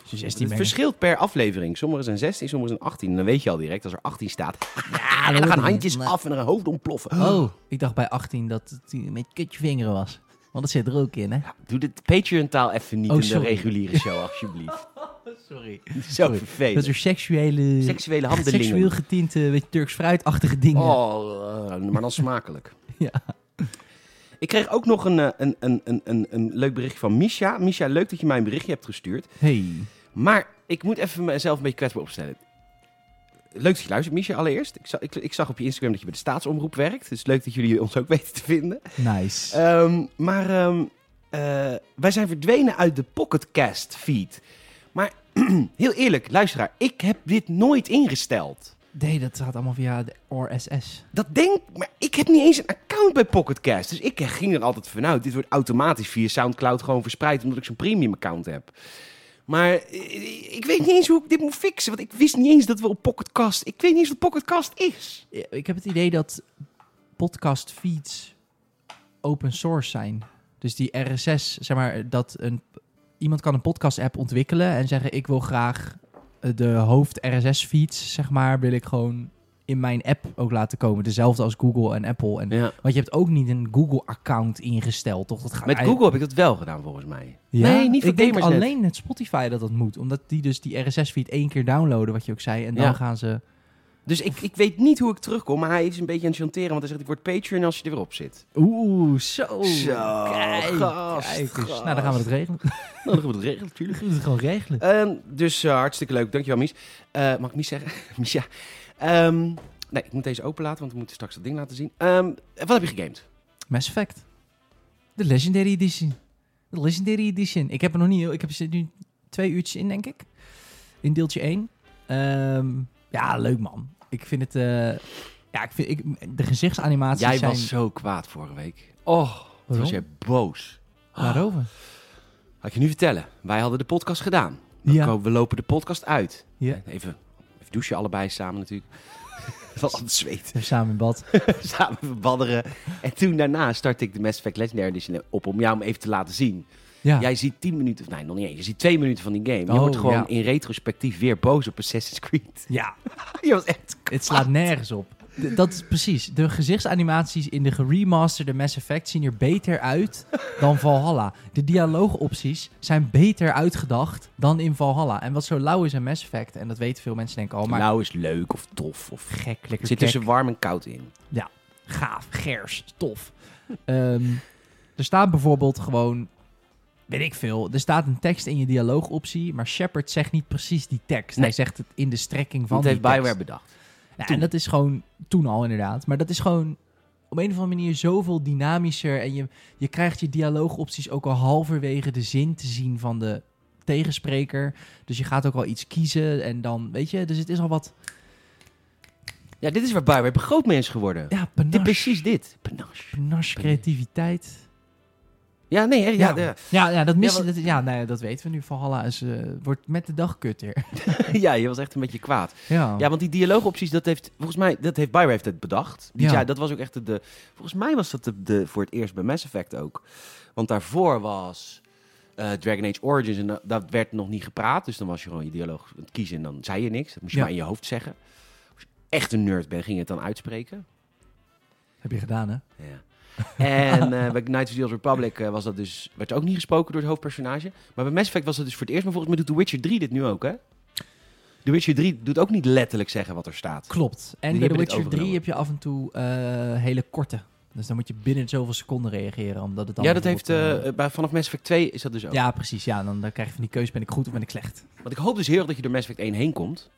Speaker 2: Als je 16
Speaker 1: Het
Speaker 2: bent.
Speaker 1: verschilt per aflevering. Sommige zijn 16, sommige zijn 18. En dan weet je al direct, als er 18 staat, <laughs>
Speaker 2: Ja,
Speaker 1: dan
Speaker 2: weet
Speaker 1: gaan
Speaker 2: ik niet.
Speaker 1: handjes
Speaker 2: Nee.
Speaker 1: af en een hoofd ontploffen.
Speaker 2: Oh, ik dacht bij 18 dat het met kutje vingeren was. Want dat zit er ook in, hè?
Speaker 1: Doe Ah, dit Patreon-taal even niet
Speaker 2: Oh,
Speaker 1: in de
Speaker 2: sorry. <laughs>
Speaker 1: reguliere show, alsjeblieft.
Speaker 2: Sorry.
Speaker 1: Zo
Speaker 2: Sorry. Dat
Speaker 1: vervelend.
Speaker 2: is seksuele... <laughs>
Speaker 1: Seksuele handelingen.
Speaker 2: Seksueel getinte, weet je, Turks fruitachtige dingen.
Speaker 1: Oh, eh, maar dan smakelijk.
Speaker 2: <laughs> Ja.
Speaker 1: Ik kreeg ook nog een, eh, een, een, een, een, een leuk berichtje van Misha. Misha, leuk dat je mij een berichtje hebt gestuurd.
Speaker 2: Hey.
Speaker 1: Maar ik moet even mezelf een beetje kwetsbaar opstellen. Leuk dat je luistert, Misha, allereerst. Ik, za- ik, ik zag op je Instagram dat je bij de staatsomroep werkt. Dus leuk dat jullie ons ook <laughs> weten te vinden.
Speaker 2: Nice.
Speaker 1: Ehm, maar ehm, eh, wij zijn verdwenen uit de Pocketcast feed. Maar <clears throat> heel eerlijk, luisteraar, ik heb dit nooit ingesteld.
Speaker 2: nee, dat gaat allemaal via de RSS.
Speaker 1: Dat denk maar ik heb niet eens een account bij Pocketcast. Dus ik ging er altijd vanuit. Dit wordt automatisch via Soundcloud gewoon verspreid, omdat ik zo'n premium account heb. Maar eh, ik weet niet eens hoe ik dit moet fixen. Want ik wist niet eens dat we op Pocketcast. Ik weet niet eens wat Pocketcast is.
Speaker 2: Ja, Eh, Ik heb het idee dat podcast feeds open source zijn. Dus die RSS, zeg maar, dat een, iemand kan een podcast app ontwikkelen en zeggen ik wil graag eh, de hoofd RSS feeds, zeg maar, wil ik gewoon in mijn app ook laten komen. Dezelfde als Google en Apple. En,
Speaker 1: Ja.
Speaker 2: Want je hebt ook niet een Google account ingesteld, toch? Dat gaat
Speaker 1: Met
Speaker 2: eigenlijk-
Speaker 1: Google heb ik dat wel gedaan volgens mij.
Speaker 2: Ja,
Speaker 1: Nee, niet voor
Speaker 2: ik denk
Speaker 1: Gamersnet.
Speaker 2: alleen het Spotify dat dat moet. Omdat die dus die RSS-feed één keer downloaden, wat je ook zei. En dan
Speaker 1: Ja.
Speaker 2: gaan ze...
Speaker 1: Dus ik, ik weet niet hoe ik terugkom. Maar hij is een beetje aan het chanteren. Want hij zegt: Ik word Patreon als je er weer op zit.
Speaker 2: Oeh, zo.
Speaker 1: Zo, gast,
Speaker 2: kijk eens.
Speaker 1: gast.
Speaker 2: Nou, dan gaan we dat regelen.
Speaker 1: <laughs>
Speaker 2: Dan
Speaker 1: Nou, dan gaan we dat regelen, natuurlijk.
Speaker 2: gaan we het gewoon regelen.
Speaker 1: Ehm, dus eh, hartstikke leuk. Dankjewel, Mies. Eh, mag ik Mies zeggen? <laughs> Mies, ja. Ehm, nee, ik moet deze open laten, want we moeten straks dat ding laten zien. Ehm, wat heb je gegamed?
Speaker 2: Mass Effect. De Legendary Edition. De Legendary Edition. Ik heb er nog niet heel... Ik heb er nu twee uurtjes in, denk ik. In deeltje één. Ehm, ja, leuk man. Ik vind het... eh, ja, ik vind... Ik, de gezichtsanimaties
Speaker 1: Jij
Speaker 2: zijn...
Speaker 1: was zo kwaad vorige week. Oh, wat was
Speaker 2: Waarom?
Speaker 1: jij boos. <gasps> Ah,
Speaker 2: Waarover?
Speaker 1: Had ik je nu vertellen. Wij hadden de podcast gedaan. We,
Speaker 2: Ja.
Speaker 1: ko- we lopen de podcast uit.
Speaker 2: Ja.
Speaker 1: Even, even douchen allebei samen natuurlijk. <laughs> Wat aan het zweet.
Speaker 2: Samen in bad.
Speaker 1: <laughs> samen verbadderen. En toen daarna startte ik de Mass Effect Legendary Edition op om jou hem even te laten zien.
Speaker 2: Ja.
Speaker 1: Jij ziet 10 minuten, of nee, nog niet eens. Je ziet 2 minuten van die game. Je
Speaker 2: Oh,
Speaker 1: wordt gewoon
Speaker 2: ja.
Speaker 1: in retrospectief weer boos op Assassin's Creed.
Speaker 2: <laughs> ja.
Speaker 1: Je was echt.
Speaker 2: Het slaat nergens op. D- Dat is precies. De gezichtsanimaties in de geremasterde Mass Effect zien er beter uit dan Valhalla. De dialoogopties zijn beter uitgedacht dan in Valhalla. En wat zo lauw is aan Mass Effect, en dat weten veel mensen denken al, maar
Speaker 1: Nou is leuk of tof. Of...
Speaker 2: gek, lekker
Speaker 1: Er zit
Speaker 2: kek,
Speaker 1: tussen warm en koud in.
Speaker 2: gaaf, gers, tof. Ehm, er staat bijvoorbeeld gewoon, weet ik veel, er staat een tekst in je dialoogoptie, maar Shepard zegt niet precies die tekst.
Speaker 1: Nee.
Speaker 2: Hij zegt het in de strekking van
Speaker 1: Dat
Speaker 2: die
Speaker 1: heeft
Speaker 2: tekst.
Speaker 1: Bioware bedacht.
Speaker 2: Ja,
Speaker 1: Toen.
Speaker 2: en Nou, dat is gewoon toen al inderdaad. Maar dat is gewoon op een of andere manier zoveel dynamischer. En je, je krijgt je dialoogopties ook al halverwege de zin te zien van de tegenspreker. Dus je gaat ook al iets kiezen en dan, weet je, dus het is al wat,
Speaker 1: Ja, dit is waar Bioware groot mens geworden.
Speaker 2: ja,
Speaker 1: Dit,
Speaker 2: panache,
Speaker 1: precies dit. Panache.
Speaker 2: panache creativiteit.
Speaker 1: Ja, nee, hè, ja.
Speaker 2: Ja.
Speaker 1: de- <laughs>
Speaker 2: Ja, ja, dat missen,
Speaker 1: Ja,
Speaker 2: dat, ja nou ja, dat weten we nu. Valhalla is, eh, wordt met de dag kutter.
Speaker 1: ja, je was echt een beetje kwaad.
Speaker 2: Ja,
Speaker 1: Ja, want die dialoogopties, dat heeft, volgens mij, dat heeft Bioware heeft het bedacht. Die,
Speaker 2: Ja.
Speaker 1: ja. dat was ook echt de, de- volgens mij was dat de, de, voor het eerst bij Mass Effect ook. Want daarvoor was eh, Dragon Age Origins en da- daar werd nog niet gepraat. Dus dan was je gewoon je dialoog aan het kiezen en dan zei je niks. Dat moest je
Speaker 2: Ja.
Speaker 1: maar in je hoofd zeggen. Als je echt een nerd bent, ging je het dan uitspreken.
Speaker 2: heb je gedaan hè?
Speaker 1: Ja. <laughs> en eh, bij Knights of the Old Republic eh, was dat dus, werd ook niet gesproken door het hoofdpersonage. Maar bij Mass Effect was dat dus voor het eerst. Maar volgens mij doet The Witcher 3 dit nu ook, hè? The Witcher 3 doet ook niet letterlijk zeggen wat er staat.
Speaker 2: Klopt. En
Speaker 1: Die
Speaker 2: bij The
Speaker 1: hebben dit
Speaker 2: Witcher 3
Speaker 1: overgenomen.
Speaker 2: heb je af en toe eh, hele korte. Dus dan moet je binnen zoveel seconden reageren, omdat het dan...
Speaker 1: Ja, dat heeft,
Speaker 2: bijvoorbeeld, eh,
Speaker 1: eh, bij, vanaf Mass Effect 2 is dat dus ook.
Speaker 2: Ja, precies. Ja, dan, dan krijg je van die keuze, ben ik goed of ben ik slecht?
Speaker 1: Want ik hoop dus heel erg dat je door Mass Effect 1 heen komt.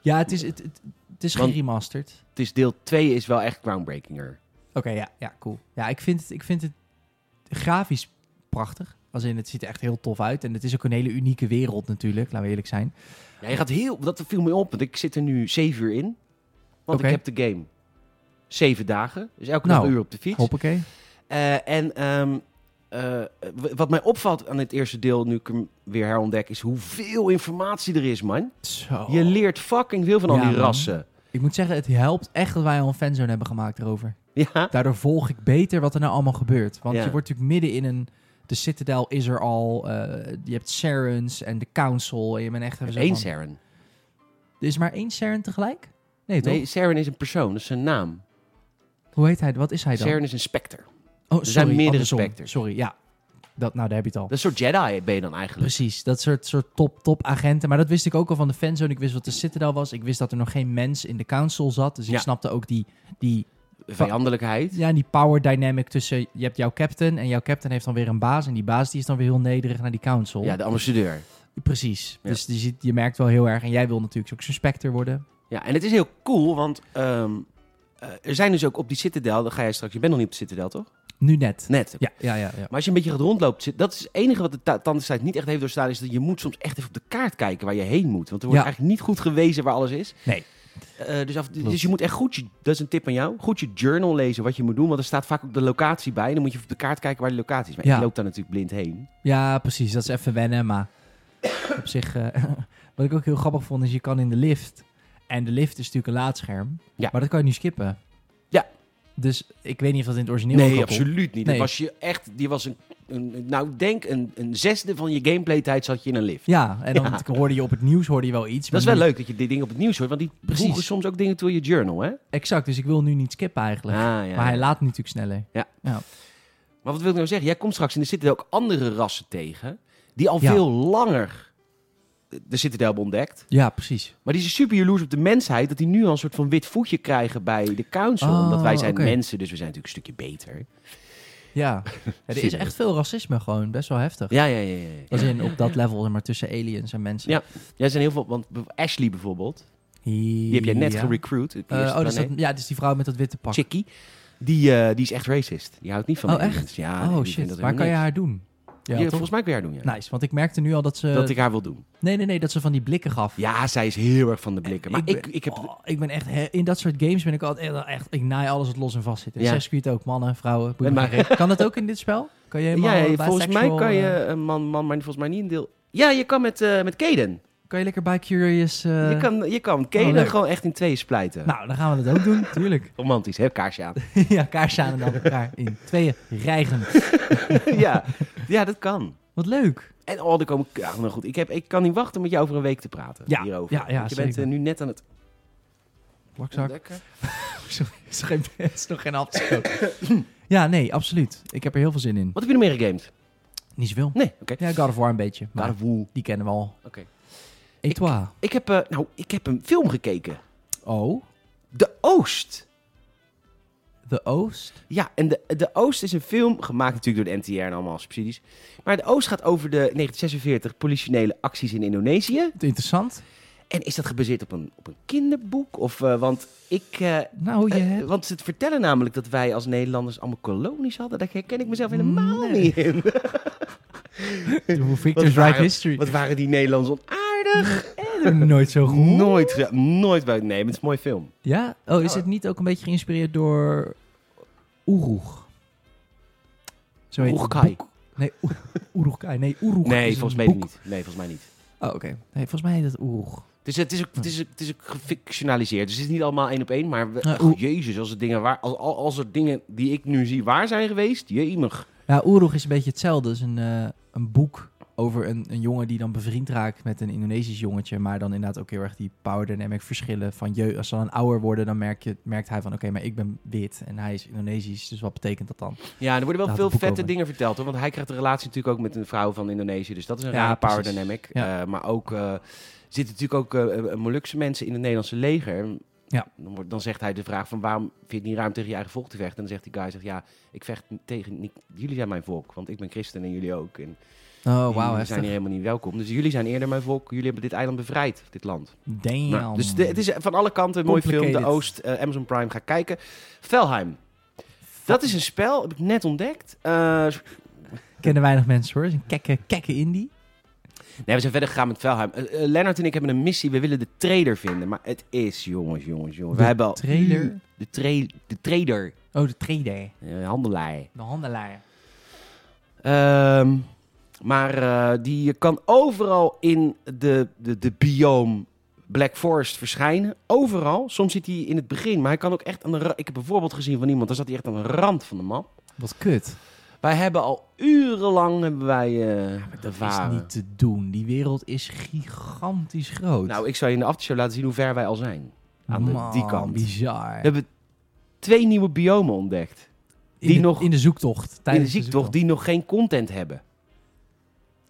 Speaker 2: Ja, het is, het, het, het is
Speaker 1: Want-
Speaker 2: geremasterd.
Speaker 1: Het is deel 2 is wel echt groundbreakinger.
Speaker 2: Oké, ja, ja, cool. Ja, ik vind, het, ik vind het grafisch prachtig. Als in, het ziet er echt heel tof uit. En het is ook een hele unieke wereld natuurlijk, laten we eerlijk zijn.
Speaker 1: Ja, je gaat heel, dat viel me op, want ik zit er nu 7 uur in. Want
Speaker 2: Oké.
Speaker 1: ik heb de game 7 dagen, dus elke dag
Speaker 2: Nou,
Speaker 1: een uur op de fiets.
Speaker 2: Hoppakee.
Speaker 1: Eh, en ehm, eh, w- wat mij opvalt aan het eerste deel, nu ik hem weer herontdek, is hoeveel informatie er is, man.
Speaker 2: Zo.
Speaker 1: Je leert fucking veel van al
Speaker 2: Ja,
Speaker 1: die
Speaker 2: man.
Speaker 1: rassen.
Speaker 2: Ik moet zeggen, het helpt echt dat wij al een fanzone hebben gemaakt erover.
Speaker 1: Ja.
Speaker 2: Daardoor volg ik beter wat er nou allemaal gebeurt. Want
Speaker 1: Ja.
Speaker 2: je wordt natuurlijk midden in een... De Citadel is er al. eh, je hebt Serens en de Council. En je bent echt even zo
Speaker 1: Eén
Speaker 2: van-
Speaker 1: Saren.
Speaker 2: Er is maar één Seren tegelijk? Nee, toch?
Speaker 1: Nee, Saren is een persoon, dat is zijn naam.
Speaker 2: Hoe heet hij? Wat is hij dan?
Speaker 1: Saren is een specter.
Speaker 2: Oh,
Speaker 1: zijn meerdere
Speaker 2: andersom.
Speaker 1: specters.
Speaker 2: Sorry, ja. Dat, nou, daar heb je het al.
Speaker 1: Dat is een soort Jedi ben je dan eigenlijk.
Speaker 2: Precies, dat soort, soort top, top agenten. Maar dat wist ik ook al van de fanzone. Ik wist wat de Citadel was. Ik wist dat er nog geen mens in de council zat. Dus ik
Speaker 1: Ja.
Speaker 2: snapte ook die, die,
Speaker 1: Vijandelijkheid.
Speaker 2: ja, die power dynamic tussen... Je hebt jouw captain en jouw captain heeft dan weer een baas. En die baas die is dan weer heel nederig naar die council.
Speaker 1: Ja, de ambassadeur.
Speaker 2: Precies.
Speaker 1: Ja.
Speaker 2: Dus je, ziet, je merkt wel heel erg... En jij wil natuurlijk ook zo'n specter worden.
Speaker 1: Ja, en het is heel cool, want ehm, eh, er zijn dus ook op die Citadel, dan ga jij straks, je bent nog niet op de Citadel, toch?
Speaker 2: Nu net.
Speaker 1: Net.
Speaker 2: Ja, ja, ja. ja.
Speaker 1: Maar als je een beetje gaat rondlopen, zit- dat is het enige wat de ta- tandartstijd niet echt heeft doorstaan, is dat je moet soms echt even op de kaart kijken waar je heen moet. Want er wordt
Speaker 2: Ja.
Speaker 1: eigenlijk niet goed gewezen waar alles is.
Speaker 2: Nee.
Speaker 1: Eh, dus, af- dus
Speaker 2: Klopt.
Speaker 1: je moet echt goed, je, dat is een tip aan jou, goed je journal lezen wat je moet doen, want er staat vaak ook de locatie bij. En dan moet je even op de kaart kijken waar de locatie is. Maar
Speaker 2: Ja.
Speaker 1: je loopt daar natuurlijk blind heen.
Speaker 2: Ja, precies. Dat is even wennen, maar <coughs> op zich... eh, <laughs> wat ik ook heel grappig vond, is je kan in de lift... En de lift is natuurlijk een laadscherm.
Speaker 1: Ja.
Speaker 2: Maar dat kan je nu skippen.
Speaker 1: Ja.
Speaker 2: Dus ik weet niet of dat in het origineel ook
Speaker 1: Nee,
Speaker 2: al kon.
Speaker 1: absoluut niet.
Speaker 2: Nee.
Speaker 1: Dat was je echt, die was een, een nou denk een, een zesde van je gameplay tijd zat je in een lift.
Speaker 2: Ja, en dan
Speaker 1: Ja.
Speaker 2: hoorde je op het nieuws hoorde je wel iets.
Speaker 1: Dat is
Speaker 2: maar
Speaker 1: wel
Speaker 2: nu-
Speaker 1: leuk dat je dit ding op het nieuws hoort, want die
Speaker 2: Precies.
Speaker 1: voegen soms ook dingen toe in je journal, hè?
Speaker 2: Exact, dus ik wil nu niet skippen eigenlijk.
Speaker 1: Ah, ja.
Speaker 2: maar hij laat nu natuurlijk sneller.
Speaker 1: Maar wat wil ik nou zeggen? Jij komt straks in de Citadel ook andere rassen tegen, die al
Speaker 2: Ja.
Speaker 1: veel langer de Citadel hebben ontdekt.
Speaker 2: Ja, precies.
Speaker 1: Maar die zijn super jaloers op de mensheid, dat die nu al een soort van wit voetje krijgen bij de council.
Speaker 2: Oh,
Speaker 1: omdat wij zijn
Speaker 2: oké.
Speaker 1: mensen, dus we zijn natuurlijk een stukje beter. <laughs>
Speaker 2: Ja. Ja, er is echt veel racisme gewoon, best wel heftig.
Speaker 1: Ja, ja, ja. ja, ja.
Speaker 2: Als in op dat level, zeg maar tussen aliens en mensen.
Speaker 1: Ja. Jij zijn heel veel, want b- Ashley bijvoorbeeld,
Speaker 2: Die
Speaker 1: die heb jij net
Speaker 2: ja.
Speaker 1: gerecruit. op de
Speaker 2: Eh,
Speaker 1: eerste
Speaker 2: oh, dus dat,
Speaker 1: planeet.
Speaker 2: ja, dus die vrouw met dat witte pak.
Speaker 1: Chickie. Die, eh, die is echt racist. Die houdt niet van
Speaker 2: Oh,
Speaker 1: mensen.
Speaker 2: echt?
Speaker 1: Ja, Ah, nee,
Speaker 2: oh
Speaker 1: die vindt
Speaker 2: shit,
Speaker 1: dat
Speaker 2: waar kan je
Speaker 1: helemaal
Speaker 2: haar doen? Ja,
Speaker 1: niks. Ja,
Speaker 2: toch? Nou, eh,
Speaker 1: volgens mij kun je haar doen, ja.
Speaker 2: Nice, want ik merkte nu al dat ze...
Speaker 1: dat ik haar wil doen.
Speaker 2: Nee, nee, nee, dat ze van die blikken gaf.
Speaker 1: Ja, zij is heel erg van de blikken. Maar ik,
Speaker 2: ben-
Speaker 1: ik heb...
Speaker 2: oh, ik ben echt... he- in dat soort games ben ik altijd echt... echt- ik naai alles wat los en vast zit.
Speaker 1: Ja.
Speaker 2: Ja. Circuit ook, mannen, vrouwen. boeit
Speaker 1: En
Speaker 2: me geen reet. Kan dat ook in dit spel? Kan je helemaal
Speaker 1: Ja, ja,
Speaker 2: bisexual,
Speaker 1: volgens mij kan
Speaker 2: eh,
Speaker 1: je... een Man, man, maar volgens mij niet een deel... Ja, je kan met, eh met Kaden.
Speaker 2: Kan je lekker bij Curious... eh,
Speaker 1: je, kan, je kan Kaden
Speaker 2: leuk.
Speaker 1: gewoon echt in tweeën splijten.
Speaker 2: Nou, dan gaan we dat ook doen, tuurlijk. <laughs>
Speaker 1: Romantisch, hè? Kaarsje aan.
Speaker 2: ja, kaars aan en dan elkaar in tweeën rijgen.
Speaker 1: ja. ja, dat kan.
Speaker 2: Wat leuk.
Speaker 1: En oh, er komen... Ja, nou goed. Ik, heb, ik kan niet wachten met jou over een week te praten
Speaker 2: Ja,
Speaker 1: hierover.
Speaker 2: ja, ja,
Speaker 1: Want je bent
Speaker 2: zeker.
Speaker 1: eh, nu net aan het
Speaker 2: Plakzak.
Speaker 1: ontdekken.
Speaker 2: Sorry, is nog geen- is nog geen afgesproken. ja, nee, absoluut. Ik heb er heel veel zin in.
Speaker 1: Wat heb je nog meer gegamed?
Speaker 2: Niet zoveel.
Speaker 1: Nee, oké.
Speaker 2: Ja, God of War een beetje. Maar
Speaker 1: Maar woe.
Speaker 2: die kennen we al.
Speaker 1: Oké.
Speaker 2: Et toi?
Speaker 1: Ik heb, eh, nou, ik heb een film gekeken.
Speaker 2: Oh?
Speaker 1: De Oost.
Speaker 2: The Oost?
Speaker 1: Ja, en de, de Oost is een film, gemaakt natuurlijk door de NTR en allemaal subsidies. Maar de Oost gaat over de 1946 politionele acties in Indonesië.
Speaker 2: Interessant.
Speaker 1: En is dat gebaseerd op een, op een kinderboek? Of, eh, want ik... eh,
Speaker 2: Nou, je
Speaker 1: eh,
Speaker 2: hebt...
Speaker 1: want ze vertellen namelijk dat wij als Nederlanders allemaal kolonies hadden. Daar herken ik mezelf helemaal niet in. <laughs>
Speaker 2: Hoe
Speaker 1: eh, Wat
Speaker 2: Victor's
Speaker 1: waren-
Speaker 2: Right History.
Speaker 1: Wat waren die Nederlanders onaardig?
Speaker 2: Nooit zo goed.
Speaker 1: Nooit, ge- nooit buiten. Nee, maar het is een mooie film.
Speaker 2: Ja? Oh, is het niet ook een beetje geïnspireerd door Oeroeg? Zo heet het
Speaker 1: Oeroegkai.
Speaker 2: boek. Nee, Oer- Oeroegkai. Nee, Oeroeg is
Speaker 1: Nee,
Speaker 2: een
Speaker 1: volgens mij
Speaker 2: boek.
Speaker 1: niet. Nee, volgens mij niet.
Speaker 2: Oh, oké. Nee, volgens mij heet het Oeroeg.
Speaker 1: Dus het is ook, het is ook, het is ook gefictionaliseerd. Dus het is niet allemaal één op één. Maar we-
Speaker 2: Ja,
Speaker 1: ach,
Speaker 2: hoe-
Speaker 1: jezus, als er, dingen waar, als, al- als er dingen die ik nu zie waar zijn geweest. Jemig.
Speaker 2: Ja, Oeroeg is een beetje hetzelfde. Het is een, eh, een boek over een, een jongen die dan bevriend raakt met een Indonesisch jongetje. Maar dan inderdaad ook heel erg die power dynamic verschillen. Van je, als ze dan ouder worden, dan merk je, merkt hij van oké, maar ik ben wit en hij is Indonesisch. Dus wat betekent dat dan?
Speaker 1: Ja, er worden wel
Speaker 2: Laat
Speaker 1: veel
Speaker 2: het boek
Speaker 1: vette
Speaker 2: open.
Speaker 1: dingen verteld. Hoor, want hij krijgt een relatie natuurlijk ook met een vrouw van Indonesië. Dus dat is een
Speaker 2: Ja,
Speaker 1: rare power
Speaker 2: precies.
Speaker 1: dynamic.
Speaker 2: Ja.
Speaker 1: Eh, maar ook eh, zitten natuurlijk ook eh, eh, Molukse mensen in het Nederlandse leger.
Speaker 2: Ja.
Speaker 1: Dan, wordt, dan zegt hij de vraag van waarom vind je het niet ruim tegen je eigen volk te vechten? En dan zegt die guy, zegt, ja, ik vecht niet tegen, niet- jullie zijn mijn volk. Want ik ben christen en jullie ook. En
Speaker 2: Oh,
Speaker 1: jullie
Speaker 2: wauw,
Speaker 1: zijn hier
Speaker 2: heftig.
Speaker 1: helemaal niet welkom. Dus jullie zijn eerder mijn volk. Jullie hebben dit eiland bevrijd, dit land.
Speaker 2: Damn.
Speaker 1: Nou, dus de- het is van alle kanten een mooie film. De
Speaker 2: Complicated.
Speaker 1: Oost, eh, Amazon Prime, ga kijken. Velheim. Dat is een spel, heb ik net ontdekt. Eh,
Speaker 2: Kennen weinig mensen hoor. Het is een kekke, kekke indie.
Speaker 1: nee, we zijn verder gegaan met Velheim. Eh, eh, Lennart en ik hebben een missie. We willen de trader vinden. Maar het is, jongens, jongens, jongens. We
Speaker 2: De
Speaker 1: hebben al
Speaker 2: trailer?
Speaker 1: De, tra- de trader.
Speaker 2: Oh, de 3D.
Speaker 1: Eh, handelaar.
Speaker 2: De handelaar.
Speaker 1: Ehm, maar eh, die kan overal in de, de, de bioom Black Forest verschijnen. Overal. Soms zit hij in het begin. Maar hij kan ook echt aan de... ra- Ik heb bijvoorbeeld gezien van iemand. Daar zat hij echt aan de rand van de map.
Speaker 2: Wat kut.
Speaker 1: Wij hebben al urenlang hebben wij eh de
Speaker 2: Dat is niet te doen. Die wereld is gigantisch groot.
Speaker 1: Nou, ik zou je in de aftershow laten zien hoe ver wij al zijn. Aan de-
Speaker 2: Man,
Speaker 1: die kant. We
Speaker 2: bizar.
Speaker 1: hebben twee nieuwe biomen ontdekt.
Speaker 2: in,
Speaker 1: Die
Speaker 2: de,
Speaker 1: nog-
Speaker 2: in de zoektocht.
Speaker 1: in de
Speaker 2: tijdens
Speaker 1: ziektocht die nog geen content hebben.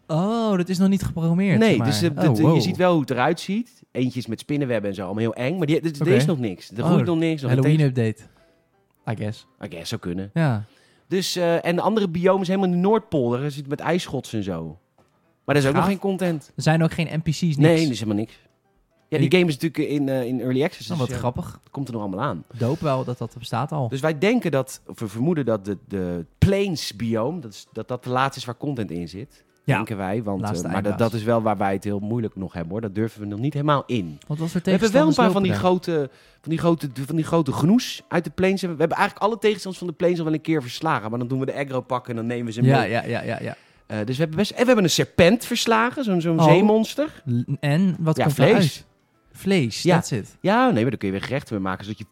Speaker 2: Oh, dat is nog niet geprogrammeerd.
Speaker 1: Nee,
Speaker 2: zeg maar.
Speaker 1: dus eh,
Speaker 2: Oh,
Speaker 1: dat-
Speaker 2: wow.
Speaker 1: je ziet wel hoe het eruit ziet. Eentje is met spinnenwebben en zo, allemaal heel eng. Maar die, er- er
Speaker 2: Oké.
Speaker 1: is nog niks. Er
Speaker 2: Oh,
Speaker 1: groeit nog niks. Nog geen
Speaker 2: Halloween update. I guess.
Speaker 1: tekst- Oké, zou kunnen.
Speaker 2: Ja.
Speaker 1: Dus, eh, en de andere biome is helemaal in de Noordpool. Daar zit met ijsschots en zo. Maar daar is ook nog
Speaker 2: Gaaf.
Speaker 1: geen content.
Speaker 2: Er zijn ook geen NPC's. Niks.
Speaker 1: Nee, er is helemaal niks. Ja,
Speaker 2: En
Speaker 1: die
Speaker 2: die-
Speaker 1: game is natuurlijk in, eh, in early access.
Speaker 2: Nou,
Speaker 1: dus,
Speaker 2: wat
Speaker 1: ja,
Speaker 2: grappig. Oh.
Speaker 1: dat komt er nog allemaal aan.
Speaker 2: Doop wel dat dat bestaat al.
Speaker 1: Dus wij denken dat, of we vermoeden dat de, de plains biome, dat, is, dat dat de laatste is waar content in zit.
Speaker 2: Ja.
Speaker 1: Denken wij. Want, eh,
Speaker 2: Laatste
Speaker 1: maar dat,
Speaker 2: eindbaas.
Speaker 1: dat is wel waar wij het heel moeilijk nog hebben hoor. Dat durven we nog niet helemaal in.
Speaker 2: Want wat voor
Speaker 1: We hebben wel een
Speaker 2: tegenstanders
Speaker 1: paar van die,
Speaker 2: lopen
Speaker 1: grote, van, die grote, van die grote genoes uit de plains. We hebben eigenlijk alle tegenstanders van de plains al wel een keer verslagen. Maar dan doen we de aggro pakken en dan nemen we ze
Speaker 2: daar?
Speaker 1: mee.
Speaker 2: Ja, ja, ja, ja. ja.
Speaker 1: Eh, dus we hebben best... En we hebben een serpent verslagen, zo'n zo'n
Speaker 2: Oh.
Speaker 1: zeemonster.
Speaker 2: L- En wat
Speaker 1: ja,
Speaker 2: komt
Speaker 1: vlees.
Speaker 2: eruit? Vlees,
Speaker 1: Ja.
Speaker 2: that's it.
Speaker 1: Ja, nee, maar daar kun je weer gerechten mee maken, zodat je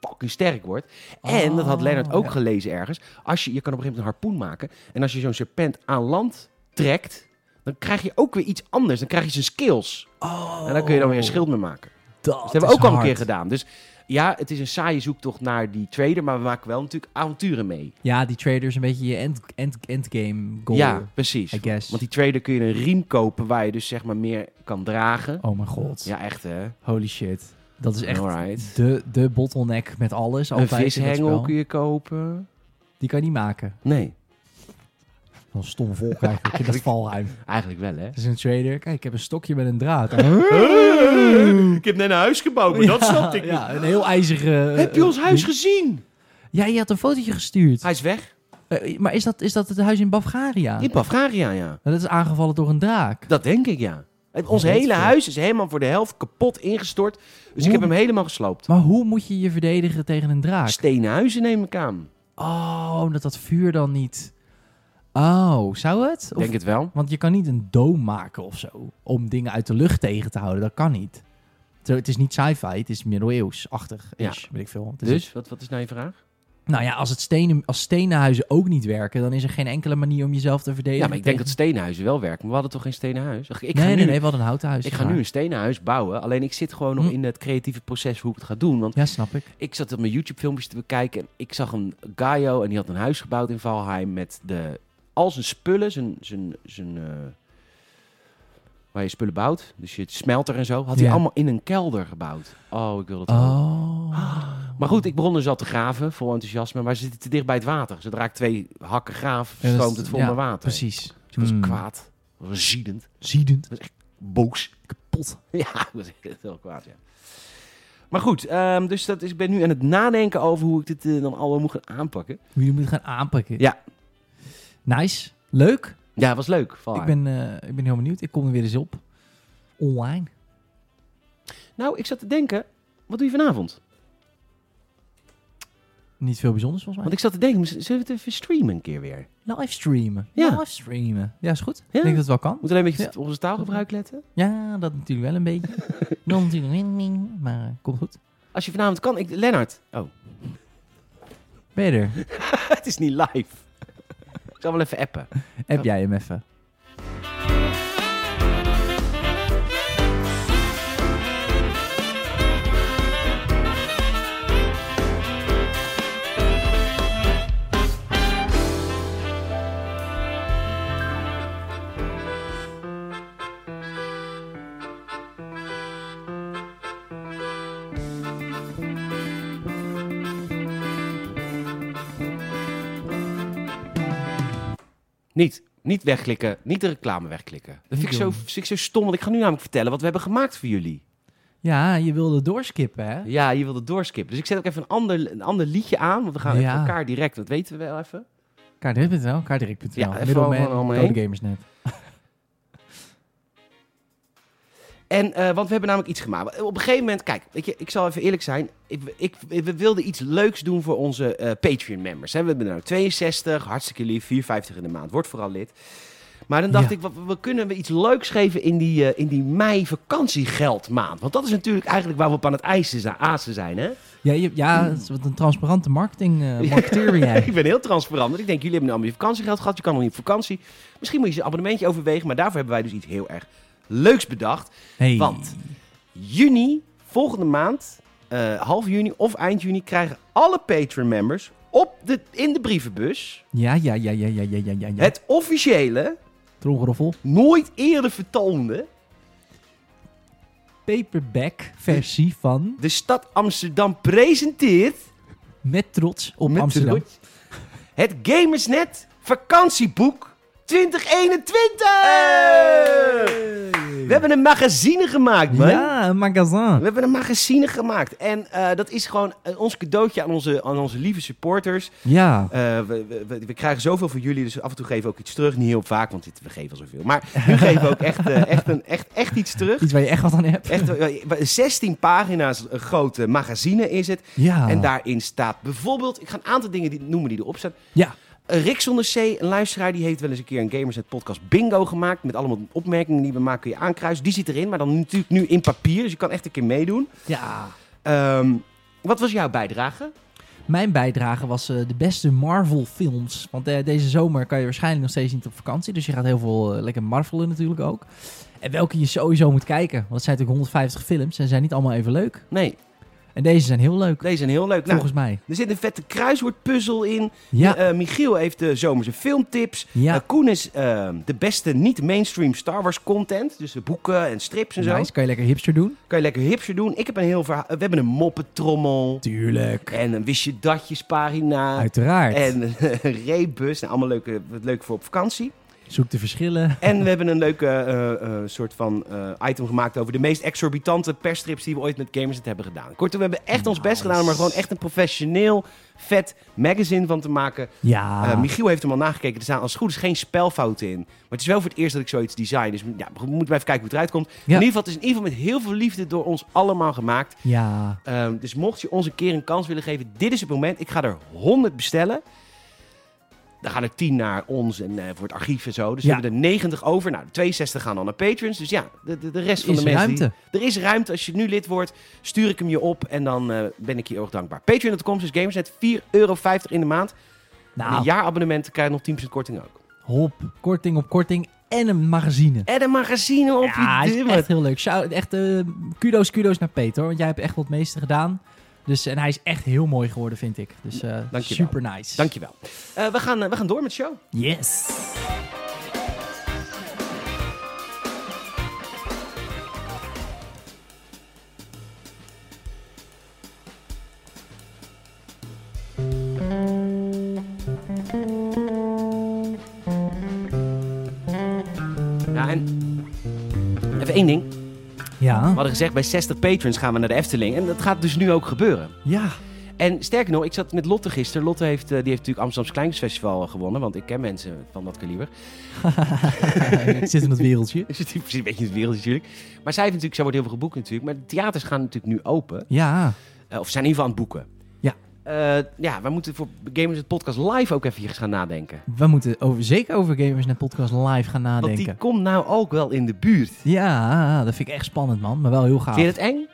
Speaker 1: fucking sterk wordt. En, dat had
Speaker 2: Oh,
Speaker 1: Lennart ook
Speaker 2: ja.
Speaker 1: gelezen ergens, als je, je kan op een gegeven moment een harpoen maken. En als je zo'n serpent aan land trekt, dan krijg je ook weer iets anders. Dan krijg je zijn skills.
Speaker 2: Oh,
Speaker 1: En dan kun je dan weer een schild mee maken.
Speaker 2: Dat,
Speaker 1: Dus dat hebben
Speaker 2: is
Speaker 1: we ook al een
Speaker 2: hard.
Speaker 1: keer gedaan. Dus ja, het is een saaie zoektocht naar die trader, maar we maken wel natuurlijk avonturen mee.
Speaker 2: Ja, die trader is een beetje je end, end, endgame goal.
Speaker 1: Ja, precies.
Speaker 2: I guess.
Speaker 1: Want die trader kun je een riem kopen waar je dus zeg maar meer kan dragen.
Speaker 2: Oh mijn god.
Speaker 1: Ja, echt hè.
Speaker 2: Holy shit. Dat is echt
Speaker 1: Alright.
Speaker 2: de, de bottleneck met alles.
Speaker 1: Een
Speaker 2: Altijd in dat
Speaker 1: vishengel
Speaker 2: spel.
Speaker 1: kun je kopen.
Speaker 2: Die kan je niet maken.
Speaker 1: Nee,
Speaker 2: Wel stom volk <laughs> eigenlijk in dat valruim.
Speaker 1: eigenlijk wel hè.
Speaker 2: Het is een trader. Kijk, ik heb een stokje met een draad.
Speaker 1: Ik heb net een huis gebouwd, maar dat
Speaker 2: Oh, Ja, Eh,
Speaker 1: snapte ik niet.
Speaker 2: Ja, een heel ijzige...
Speaker 1: Heb je ons huis gezien?
Speaker 2: Ja, je had een fotootje gestuurd.
Speaker 1: Hij is weg.
Speaker 2: Eh, maar is dat, is dat het huis in Bavaria?
Speaker 1: In Bavaria, ja.
Speaker 2: Nou, dat is aangevallen door een draak.
Speaker 1: Dat denk ik, ja. Het- Ons
Speaker 2: Weet
Speaker 1: hele
Speaker 2: veel.
Speaker 1: huis is helemaal voor de helft kapot ingestort. Dus ik
Speaker 2: Hoe-
Speaker 1: heb hem helemaal gesloopt.
Speaker 2: Maar hoe moet je je verdedigen tegen een draak?
Speaker 1: Stenen huizen neem ik aan.
Speaker 2: Oh, omdat dat vuur dan niet... Oh, zou het? Of-
Speaker 1: Denk het wel.
Speaker 2: Want je kan niet een doom maken of zo. Om dingen uit de lucht tegen te houden. Dat kan niet. Zo, Het is niet sci-fi. Het is middeleeuws-achtig.
Speaker 1: Ja.
Speaker 2: Ja. Weet ik veel. Het is-
Speaker 1: Dus, wat, wat is nou je vraag?
Speaker 2: Nou ja, als, het stenen, als stenenhuizen ook niet werken... dan is er geen enkele manier om jezelf te verdedigen.
Speaker 1: Ja, maar ik denk dat
Speaker 2: tegen-
Speaker 1: stenenhuizen wel werken. Maar we hadden toch geen stenenhuis? Ik ga
Speaker 2: nee,
Speaker 1: nu,
Speaker 2: nee, nee. Wat een houten huis.
Speaker 1: ik
Speaker 2: is
Speaker 1: ga nu
Speaker 2: waar.
Speaker 1: een stenenhuis bouwen. Alleen ik zit gewoon nog
Speaker 2: Hm.
Speaker 1: in het creatieve proces hoe ik het ga doen. Want
Speaker 2: Ja, snap ik.
Speaker 1: ik zat op mijn YouTube-filmpjes te bekijken. En ik zag een Gaio en die had een huis gebouwd in Valheim. Met de, al zijn spullen, zijn, zijn, zijn, eh, waar je spullen bouwt. Dus je smelter en zo. Had hij
Speaker 2: Ja.
Speaker 1: allemaal in een kelder gebouwd. Oh, ik wil dat ook. Ah,
Speaker 2: Oh.
Speaker 1: Maar goed, ik begon dus al te graven, vol enthousiasme. Maar ze zitten te dicht bij het water. Zodra ik twee hakken graaf,
Speaker 2: Ja, dat is-
Speaker 1: stroomt het vol
Speaker 2: ja,
Speaker 1: naar water.
Speaker 2: Precies.
Speaker 1: Dus ik was
Speaker 2: Hmm.
Speaker 1: kwaad. Ik was ziedend. <laughs>
Speaker 2: Ziedend.
Speaker 1: Boos. Kapot. Ja, ik was echt heel kwaad, ja. Maar goed, ehm, dus dat is, ik ben nu aan het nadenken over hoe ik dit eh, dan allemaal moet gaan aanpakken.
Speaker 2: Hoe je moet gaan aanpakken.
Speaker 1: Ja.
Speaker 2: Nice. Leuk.
Speaker 1: Ja, was leuk. Valheim.
Speaker 2: Ik ben, eh, ik ben heel benieuwd. Ik kom er weer eens op. Online.
Speaker 1: Nou, ik zat te denken, wat doe je vanavond?
Speaker 2: Niet veel bijzonders volgens
Speaker 1: Want
Speaker 2: mij.
Speaker 1: ik zat te denken, zullen we het even streamen een keer weer? We
Speaker 2: Livestreamen.
Speaker 1: Ja.
Speaker 2: Livestreamen. Ja, is goed.
Speaker 1: Ja.
Speaker 2: Ik denk dat het wel kan.
Speaker 1: moeten alleen een beetje op onze taalgebruik letten.
Speaker 2: Ja, dat natuurlijk wel een
Speaker 1: <laughs>
Speaker 2: beetje. Dan natuurlijk wing, wing, maar eh, komt goed.
Speaker 1: Als je vanavond kan, ik, Lennart. Oh, <laughs>
Speaker 2: Ben je er?
Speaker 1: het is niet live. ik zal wel even appen.
Speaker 2: Heb jij hem even?
Speaker 1: Niet. Niet wegklikken. Niet de reclame wegklikken. Dat vind ik,
Speaker 2: Niet
Speaker 1: zo,
Speaker 2: doen.
Speaker 1: vind ik zo stom, want ik ga nu namelijk vertellen wat we hebben gemaakt voor jullie.
Speaker 2: Ja, je wilde doorskippen, hè?
Speaker 1: Ja, je wilde doorskippen. Dus ik zet ook even een ander, een ander liedje aan, want we gaan even
Speaker 2: Ja.
Speaker 1: elkaar direct, dat weten we wel even.
Speaker 2: Kaartdirect.nl, kaartdirect.nl.
Speaker 1: Ja, even
Speaker 2: Middelman,
Speaker 1: allemaal- allemaal
Speaker 2: Code
Speaker 1: heen.
Speaker 2: Gamersnet.
Speaker 1: En, eh, want we hebben namelijk iets gemaakt. Op een gegeven moment, kijk, weet je, ik zal even eerlijk zijn. Ik, ik, we wilden iets leuks doen voor onze eh, Patreon-members. hè. We hebben er nou 62, hartstikke lief, 4,50 in de maand. Word vooral lid. Maar dan dacht
Speaker 2: Ja.
Speaker 1: ik, wat, we kunnen we iets leuks geven in die, eh, in die mei-vakantiegeldmaand. Want dat is natuurlijk eigenlijk waar we op aan het eisen zijn- azen zijn, hè?
Speaker 2: Ja, je,
Speaker 1: Hmm.
Speaker 2: ja het is wat een transparante
Speaker 1: <laughs>
Speaker 2: marketing, eh marketeer ben jij.
Speaker 1: Ik ben heel transparant. want Ik denk, jullie hebben allemaal je vakantiegeld gehad. Je kan nog niet op vakantie. Misschien moet je een abonnementje overwegen. Maar daarvoor hebben wij dus iets heel erg leuks bedacht.
Speaker 2: Hey.
Speaker 1: Want- juni, volgende maand, eh, half juni of eind juni, krijgen alle Patreon-members op de, in de brievenbus
Speaker 2: Ja, ja, ja, ja, ja, ja, ja, ja. ja.
Speaker 1: het officiële,
Speaker 2: Tromgeroffel.
Speaker 1: nooit eerder vertoonde,
Speaker 2: Paperback
Speaker 1: Hm.
Speaker 2: versie van
Speaker 1: de stad Amsterdam presenteert
Speaker 2: Met Trots op
Speaker 1: met
Speaker 2: Amsterdam.
Speaker 1: trots, het Gamersnet vakantieboek 2021! We hebben een magazine gemaakt, man.
Speaker 2: Ja, een magazin.
Speaker 1: We hebben een magazine gemaakt. En eh, dat is gewoon eh, ons cadeautje aan onze, aan onze lieve supporters.
Speaker 2: Ja.
Speaker 1: Eh, we, we- we, we krijgen zoveel van jullie, dus af en toe geven we ook iets terug. Niet heel vaak, want dit, we geven al zoveel. Maar nu geven we ook echt, eh, echt, een, echt, echt iets terug.
Speaker 2: Iets waar je echt wat aan hebt.
Speaker 1: Echt, eh, 16 pagina's een grote magazine is het.
Speaker 2: Ja.
Speaker 1: En daarin staat bijvoorbeeld, ik ga een aantal dingen die, noemen die erop staan.
Speaker 2: Ja.
Speaker 1: Eh, Rick zonder C, een luisteraar, die heeft wel eens een keer een Gamersnet podcast bingo gemaakt. Met allemaal opmerkingen die we maken, kun je aankruisen. Die zit erin, maar dan natuurlijk nu in papier. Dus je kan echt een keer meedoen.
Speaker 2: Ja.
Speaker 1: Ehm, wat was jouw bijdrage?
Speaker 2: Mijn bijdrage was eh, de beste Marvel-films. Want eh, deze zomer kan je waarschijnlijk nog steeds niet op vakantie. Dus je gaat heel veel eh, lekker marvelen natuurlijk ook. En welke je sowieso moet kijken. Want het zijn natuurlijk 150 films en ze zijn niet allemaal even leuk.
Speaker 1: Nee,
Speaker 2: En deze zijn heel leuk,
Speaker 1: deze zijn heel leuk. Nou,
Speaker 2: volgens mij.
Speaker 1: er zit een vette kruiswoordpuzzel in.
Speaker 2: Ja,
Speaker 1: Eh, Michiel heeft de zomerse filmtips.
Speaker 2: ja.
Speaker 1: Eh, Koen is eh, de beste niet-mainstream Star Wars content. Dus de boeken en strips en zo.
Speaker 2: Nice, kan je lekker hipster doen.
Speaker 1: Kan je lekker hipster doen. Ik heb een heel verhaal. We hebben een moppetrommel.
Speaker 2: Tuurlijk.
Speaker 1: En een wist je datjespagina.
Speaker 2: Uiteraard.
Speaker 1: En <laughs> een reepbus. Nou, allemaal leuke, wat leuk voor op vakantie.
Speaker 2: Zoek de verschillen.
Speaker 1: En we hebben een leuke eh, eh, soort van eh, item gemaakt over de meest exorbitante persstrips die we ooit met Gamers het hebben gedaan. Kortom, we hebben echt ons best
Speaker 2: Nice.
Speaker 1: gedaan om er gewoon echt een professioneel, vet magazine van te maken.
Speaker 2: Ja.
Speaker 1: Eh, Michiel heeft hem al nagekeken. Er staan als het goed is geen spelfouten in. Maar het is wel voor het eerst dat ik zoiets design. Dus ja, we moeten maar even kijken hoe het eruit komt. In ieder geval, het is in ieder geval met heel veel liefde door ons allemaal gemaakt.
Speaker 2: ja.
Speaker 1: Ehm, dus mocht je ons een keer een kans willen geven, dit is het moment. Ik ga er 100 bestellen. Dan gaan er 10 naar ons en eh, voor het archief en zo. Dus
Speaker 2: Ja.
Speaker 1: we hebben er 90 over. Nou, de 62 gaan dan naar patrons. Dus ja, de, de, de rest van
Speaker 2: Is
Speaker 1: de mensen.
Speaker 2: ruimte.
Speaker 1: die- er is ruimte. Als je nu lid wordt, stuur ik hem je op. En dan eh, ben ik je heel erg dankbaar. Patreon.com is Gamersnet. 4,50 euro in de maand. En een
Speaker 2: Nou,
Speaker 1: jaarabonnement krijg je nog 10% korting ook.
Speaker 2: hop. Korting op korting en een magazine.
Speaker 1: En een magazine op
Speaker 2: Ja,
Speaker 1: je
Speaker 2: hij is
Speaker 1: dimmer.
Speaker 2: echt heel leuk. Shout- echt, eh, kudos, kudos naar Peter. hoor, Want jij hebt echt wat het meeste gedaan. Dus, en hij is echt heel mooi geworden, vind ik. Dus eh,
Speaker 1: Dankjewel.
Speaker 2: super nice.
Speaker 1: Dankjewel. Eh we, gaan, eh, we gaan door met de show.
Speaker 2: Yes.
Speaker 1: Ja, en even één ding.
Speaker 2: Ja.
Speaker 1: We hadden gezegd, bij 60 patrons gaan we naar de Efteling. En dat gaat dus nu ook gebeuren.
Speaker 2: Ja.
Speaker 1: En sterker nog, ik zat met Lotte gisteren. Lotte heeft, eh, die heeft natuurlijk Amsterdamse Kleinkunstfestival eh, gewonnen. Want ik ken mensen van dat kaliber. <laughs>
Speaker 2: ik zit in het wereldje.
Speaker 1: Dus het is een beetje in het wereld natuurlijk. Maar zij heeft natuurlijk, zij wordt heel veel geboekt natuurlijk. Maar de theaters gaan natuurlijk nu open.
Speaker 2: Ja.
Speaker 1: Eh, of zijn in ieder geval aan het boeken.
Speaker 2: Ja.
Speaker 1: Eh, ja, we moeten voor Gamers het Podcast live ook even eens gaan nadenken.
Speaker 2: We moeten over, zeker over Gamers Net Podcast live gaan
Speaker 1: Want die
Speaker 2: nadenken. Ah.
Speaker 1: komt nou ook wel in de buurt.
Speaker 2: Ja, dat vind ik echt spannend, man. Maar wel heel gaaf.
Speaker 1: Vind je dat eng?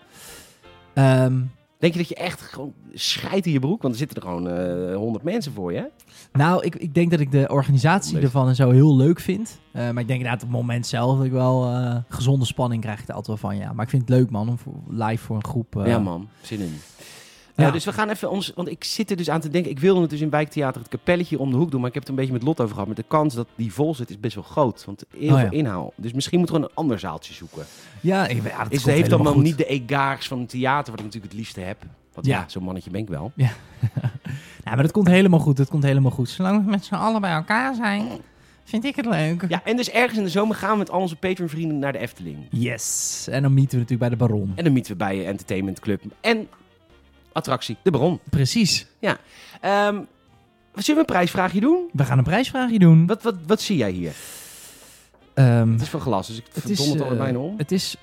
Speaker 2: Ehm,
Speaker 1: Denk je dat je echt gewoon scheidt in je broek? Want er zitten er gewoon eh 100 mensen voor je. hè?
Speaker 2: Nou, ik, ik denk dat ik de organisatie
Speaker 1: Leuk.
Speaker 2: ervan en zo heel leuk vind. Eh, maar ik denk inderdaad op het moment zelf dat ik wel eh, gezonde spanning krijg ik er altijd wel van. Ja, maar ik vind het leuk man, om voor- live voor een groep. eh,
Speaker 1: ja, man. Zin in.
Speaker 2: Ja.
Speaker 1: Ja. dus we gaan even ons... Want ik zit er dus aan te denken... Ik wilde het dus in Wijktheater het kapelletje om de hoek doen... maar ik heb het een beetje met Lot over gehad. Maar de kans dat die vol zit is best wel groot. Want heel
Speaker 2: Oh,
Speaker 1: veel
Speaker 2: ja.
Speaker 1: inhaal. Dus misschien moeten we een ander zaaltje zoeken.
Speaker 2: Ja, ik, ja dat
Speaker 1: Is,
Speaker 2: komt
Speaker 1: heeft dan
Speaker 2: helemaal
Speaker 1: wel
Speaker 2: goed.
Speaker 1: niet de egaars van het theater... wat ik natuurlijk het liefste heb. Want ja,
Speaker 2: Ja.
Speaker 1: zo'n mannetje ben ik wel.
Speaker 2: Ja, Nou, maar dat komt helemaal goed, dat komt helemaal goed. Zolang we met z'n allen bij elkaar zijn, vind ik het leuk.
Speaker 1: Ja, en dus ergens in de zomer gaan we met al onze Patreon-vrienden naar de Efteling.
Speaker 2: Yes, en dan meeten we natuurlijk bij de baron.
Speaker 1: En dan mieten we bij je Entertainment Club. En attractie, de Baron.
Speaker 2: Precies,
Speaker 1: Ehm, zullen we een prijsvraagje doen?
Speaker 2: we gaan een prijsvraagje doen.
Speaker 1: Wat, wat, wat zie jij hier?
Speaker 2: Ehm,
Speaker 1: Het is van glas, dus ik
Speaker 2: Het
Speaker 1: verdom
Speaker 2: is,
Speaker 1: het al
Speaker 2: eh,
Speaker 1: bijna om.
Speaker 2: het is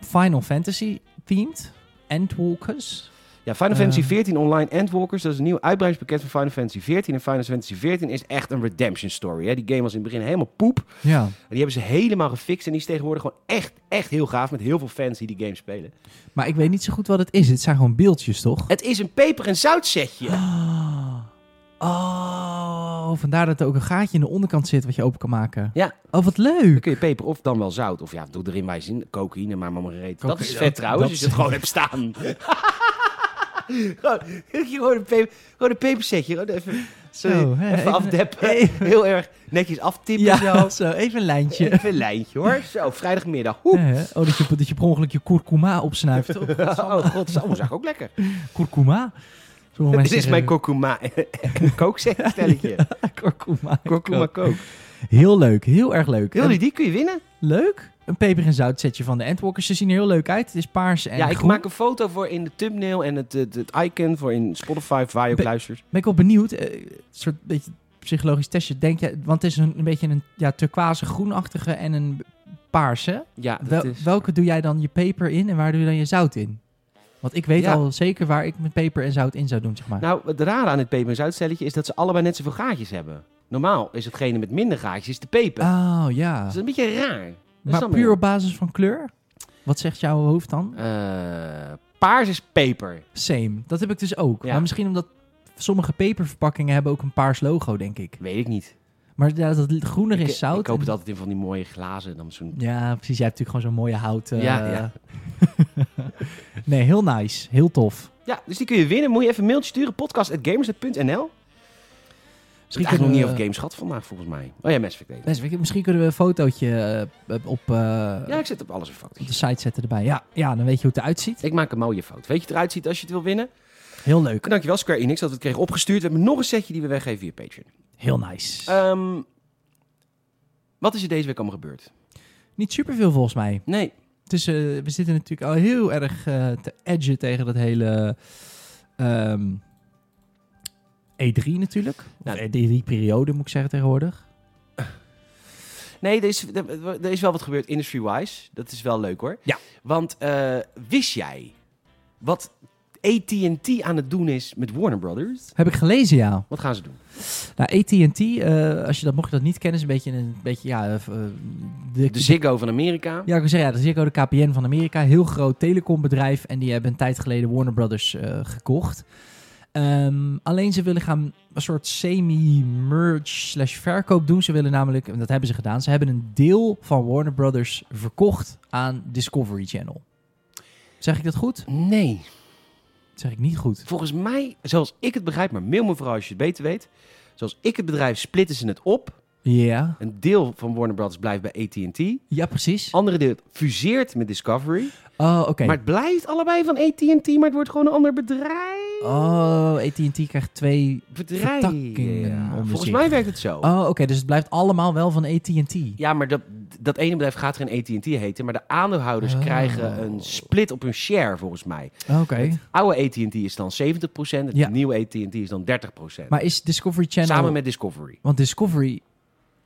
Speaker 2: Final Fantasy themed, Endwalkers.
Speaker 1: Ja, Final
Speaker 2: Eh.
Speaker 1: Fantasy 14 Online Endwalkers, dat is een nieuw uitbreidingspakket van Final Fantasy 14. En Final Fantasy 14 is echt een redemption story. Hè? Die game was in het begin helemaal poep. En
Speaker 2: Ja.
Speaker 1: die hebben ze helemaal gefixt. En die is tegenwoordig gewoon echt, echt heel gaaf met heel veel fans die die game spelen.
Speaker 2: Maar ik weet niet zo goed wat het is. Het zijn gewoon beeldjes, toch?
Speaker 1: Het is een peper- en zoutsetje.
Speaker 2: Ah. Oh, vandaar dat er ook een gaatje in de onderkant zit wat je open kan maken.
Speaker 1: Ja.
Speaker 2: Oh, wat
Speaker 1: Dan
Speaker 2: leuk.
Speaker 1: kun je peper of dan wel zout. Of ja, doe erin wij zin. Cocaïne, maar maar maar reet. Dat
Speaker 2: Cocaïne,
Speaker 1: is vet
Speaker 2: dat-
Speaker 1: trouwens,
Speaker 2: dat-
Speaker 1: als je het gewoon hebt staan. gewoon, gewoon, een peper, gewoon een pepersetje. Gewoon even, sorry,
Speaker 2: Zo, hè,
Speaker 1: even,
Speaker 2: even-
Speaker 1: afdeppen.
Speaker 2: even-
Speaker 1: Heel erg netjes aftippen
Speaker 2: Ja,
Speaker 1: zo.
Speaker 2: zo, even een lijntje.
Speaker 1: Even een lijntje hoor. Zo, vrijdagmiddag.
Speaker 2: <laughs>
Speaker 1: Oeh.
Speaker 2: Eh, oh, dat je, dat je per ongeluk je
Speaker 1: <laughs>
Speaker 2: kurkuma opsnuift. Oh,
Speaker 1: Oh god, dat zag ik ook lekker.
Speaker 2: kurkuma? Sommige
Speaker 1: Dit
Speaker 2: mensen
Speaker 1: is mijn <laughs>
Speaker 2: zeggen-
Speaker 1: kurkuma en kook zeg
Speaker 2: <laughs>
Speaker 1: stelletje.
Speaker 2: kurkuma.
Speaker 1: Kurkuma kook.
Speaker 2: Heel leuk, heel erg leuk.
Speaker 1: Wil
Speaker 2: En
Speaker 1: je die? Kun je winnen?
Speaker 2: Leuk. Een peper en zout setje van de Endwalkers. Ze zien er heel leuk uit. Het is paars en
Speaker 1: ja, ik
Speaker 2: groen.
Speaker 1: maak een foto voor in de thumbnail en het, het, het icon voor in Spotify, of waar je ook
Speaker 2: Be-
Speaker 1: luistert.
Speaker 2: Ben ik wel benieuwd. eh, Een soort beetje psychologisch testje. Denk je, want het is een, een beetje een ja, turquoise groenachtige en een paarse.
Speaker 1: Ja, dat
Speaker 2: Wel-
Speaker 1: is...
Speaker 2: Welke doe jij dan je peper in en waar doe je dan je zout in? Want ik weet
Speaker 1: Ja.
Speaker 2: al zeker waar ik mijn peper en zout in zou doen, zeg maar.
Speaker 1: Nou, het rare aan het peper- en zoutstelletje is dat ze allebei net zoveel gaatjes hebben. Normaal is hetgene met minder gaatjes is de peper.
Speaker 2: oh ja.
Speaker 1: Dat is een beetje raar. Dat is
Speaker 2: Maar
Speaker 1: dan
Speaker 2: puur
Speaker 1: weer-
Speaker 2: op basis van kleur? Wat zegt jouw hoofd dan?
Speaker 1: Eh, paars is peper.
Speaker 2: Same. Dat heb ik dus ook.
Speaker 1: Ja.
Speaker 2: Maar misschien omdat sommige peperverpakkingen hebben ook een paars logo, denk ik.
Speaker 1: Weet ik niet.
Speaker 2: Maar ja, dat het groener
Speaker 1: ik,
Speaker 2: is zout.
Speaker 1: Ik koop het
Speaker 2: en-
Speaker 1: altijd in van die mooie glazen. en Dan zo'n...
Speaker 2: Ja, precies. Jij hebt natuurlijk gewoon zo'n mooie houten... eh,
Speaker 1: Ja, ja.
Speaker 2: <laughs> nee, heel nice. Heel tof.
Speaker 1: Ja, dus die kun je winnen. Moet je even een mailtje sturen. Podcast.gamers.nl Ik heb
Speaker 2: kunnen
Speaker 1: nog niet
Speaker 2: we-
Speaker 1: over games gehad vandaag, volgens mij. Oh ja, Mass Effect weet ik.
Speaker 2: Best, weet je, Misschien kunnen we een fotootje eh, op, eh,
Speaker 1: Ja, ik zet op alles een foto.
Speaker 2: op de site zetten erbij. Ja, ja, dan weet je hoe het eruit ziet.
Speaker 1: Ik maak een mooie foto. Weet je het eruit ziet als je het wil winnen?
Speaker 2: Heel leuk.
Speaker 1: En dankjewel Square Enix dat we het kregen opgestuurd. We hebben nog een setje die we weggeven via Patreon.
Speaker 2: Heel nice.
Speaker 1: Ehm, wat is er deze week allemaal gebeurd?
Speaker 2: niet superveel volgens mij.
Speaker 1: Nee,
Speaker 2: Dus eh, we zitten natuurlijk al heel erg eh, te edgen tegen dat hele ehm, E3 natuurlijk. Of
Speaker 1: Nou,
Speaker 2: E3-periode moet ik zeggen tegenwoordig.
Speaker 1: nee er, is, er, er is wel wat gebeurd industry-wise. Dat is wel leuk hoor.
Speaker 2: Ja.
Speaker 1: Want eh, wist jij wat AT&T aan het doen is met Warner Brothers?
Speaker 2: Heb ik gelezen, ja.
Speaker 1: Wat gaan ze doen?
Speaker 2: Nou, AT&T, eh, als je dat, mocht je dat niet kennen, is een beetje een beetje, ja... eh, de,
Speaker 1: De Ziggo van Amerika.
Speaker 2: ja, ik wil zeggen, ja, dat is ook de KPN van Amerika. Heel groot telecombedrijf. En die hebben een tijd geleden Warner Brothers eh, gekocht. Ehm, alleen ze willen gaan een soort semi-merge slash verkoop doen. Ze willen namelijk, en dat hebben ze gedaan, ze hebben een deel van Warner Brothers verkocht aan Discovery Channel. Zeg ik dat goed?
Speaker 1: Nee,
Speaker 2: Dat zeg ik niet goed.
Speaker 1: volgens mij, zoals ik het begrijp, maar mail me vooral als je het beter weet. Zoals ik het bedrijf splitten ze het op.
Speaker 2: Ja,
Speaker 1: Een deel van Warner Brothers blijft bij AT&T.
Speaker 2: ja precies.
Speaker 1: Andere deel fuseert met Discovery.
Speaker 2: Oh, oké.
Speaker 1: Maar het blijft allebei van AT&T, maar het wordt gewoon een ander bedrijf.
Speaker 2: Oh, AT&T krijgt twee
Speaker 1: bedrijf.
Speaker 2: vertakkingen onder
Speaker 1: Volgens
Speaker 2: zich.
Speaker 1: mij werkt het zo.
Speaker 2: Oh, oké, dus het blijft allemaal wel van AT&T.
Speaker 1: Ja, maar dat, dat ene bedrijf gaat geen AT&T heten, maar de aandeelhouders
Speaker 2: Oh.
Speaker 1: krijgen een split op hun share volgens mij.
Speaker 2: Oké.
Speaker 1: Oude AT&T is dan 70%, het
Speaker 2: Ja.
Speaker 1: nieuwe AT&T is dan 30%.
Speaker 2: Maar is Discovery Channel...
Speaker 1: Samen met Discovery.
Speaker 2: Want Discovery...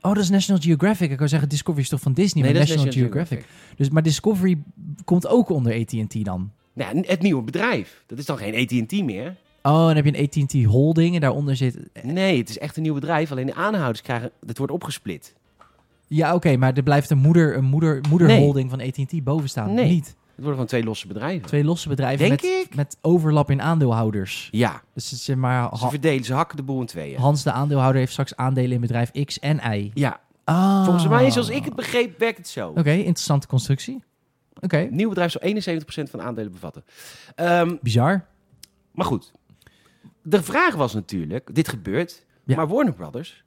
Speaker 2: Oh, dat is National Geographic. Ik wou zeggen, Discovery is toch van Disney, maar
Speaker 1: dat is
Speaker 2: National, Geographic. Dus, maar Discovery komt ook onder AT&T dan.
Speaker 1: Nou, ja, het nieuwe bedrijf. Dat is dan geen AT&T meer.
Speaker 2: Oh, dan heb je een AT&T holding en daaronder zit...
Speaker 1: Nee, het is echt een nieuw bedrijf. Alleen de aandeelhouders krijgen... Dat wordt opgesplit.
Speaker 2: Ja, oké, maar er blijft een moeder, een moeder, moederholding van AT&T boven staan.
Speaker 1: Nee.
Speaker 2: Niet.
Speaker 1: Het worden gewoon twee losse bedrijven.
Speaker 2: Twee losse bedrijven
Speaker 1: Denk
Speaker 2: met,
Speaker 1: ik.
Speaker 2: met overlap in aandeelhouders.
Speaker 1: Ja,
Speaker 2: Dus het is zeg maar...
Speaker 1: ze
Speaker 2: Ha-
Speaker 1: verdelen, ze hakken de boel in tweeën.
Speaker 2: Hans, de aandeelhouder, heeft straks aandelen in bedrijf X en Y.
Speaker 1: Ja,
Speaker 2: Ah.
Speaker 1: volgens mij, zoals ik het begreep, werkt het zo.
Speaker 2: Oké, interessante constructie. Oké,
Speaker 1: Het nieuw bedrijf zal 71% van aandelen bevatten. Ehm,
Speaker 2: bizar.
Speaker 1: maar goed, de vraag was natuurlijk, dit gebeurt,
Speaker 2: Ja.
Speaker 1: maar Warner Brothers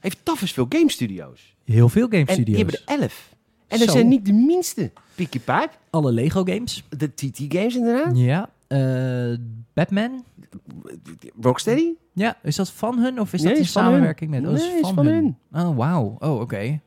Speaker 1: heeft tafels veel game studios.
Speaker 2: Heel veel game
Speaker 1: En die
Speaker 2: studios.
Speaker 1: hebben er 11. En dat
Speaker 2: Zo.
Speaker 1: zijn niet de minste. Pikkie Paard,
Speaker 2: Alle Lego games.
Speaker 1: de TT Games inderdaad,
Speaker 2: Ja. eh, Batman.
Speaker 1: Rocksteady.
Speaker 2: Ja, is dat van hun of is
Speaker 1: Nee,
Speaker 2: dat in
Speaker 1: is van hun.
Speaker 2: samenwerking met? Oh, dat
Speaker 1: Nee, is van
Speaker 2: Oh, wauw. Oh, oké.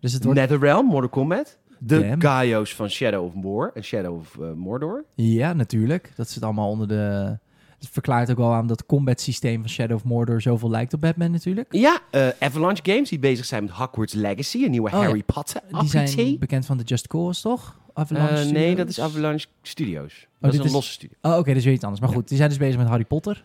Speaker 2: Dus het wordt...
Speaker 1: NetherRealm, Mortal Kombat. De
Speaker 2: Damn.
Speaker 1: Gaio's van Shadow of War en Shadow of eh, Mordor.
Speaker 2: Ja, natuurlijk. Dat zit allemaal onder de... Het verklaart ook wel aan dat combat systeem van Shadow of Mordor zoveel lijkt op Batman natuurlijk.
Speaker 1: Ja, eh, Avalanche Games die bezig zijn met Hogwarts Legacy, een nieuwe
Speaker 2: Oh, ja.
Speaker 1: Harry Potter.
Speaker 2: Die zijn
Speaker 1: appetee.
Speaker 2: bekend van de Just Cause, toch?
Speaker 1: Eh,
Speaker 2: Avalanche
Speaker 1: nee,
Speaker 2: Studios?
Speaker 1: dat is Avalanche Studios.
Speaker 2: dit
Speaker 1: dat is een
Speaker 2: is-
Speaker 1: losse studio.
Speaker 2: Oh, oké, dat is weer iets anders. Maar goed, die zijn dus bezig met Harry Potter.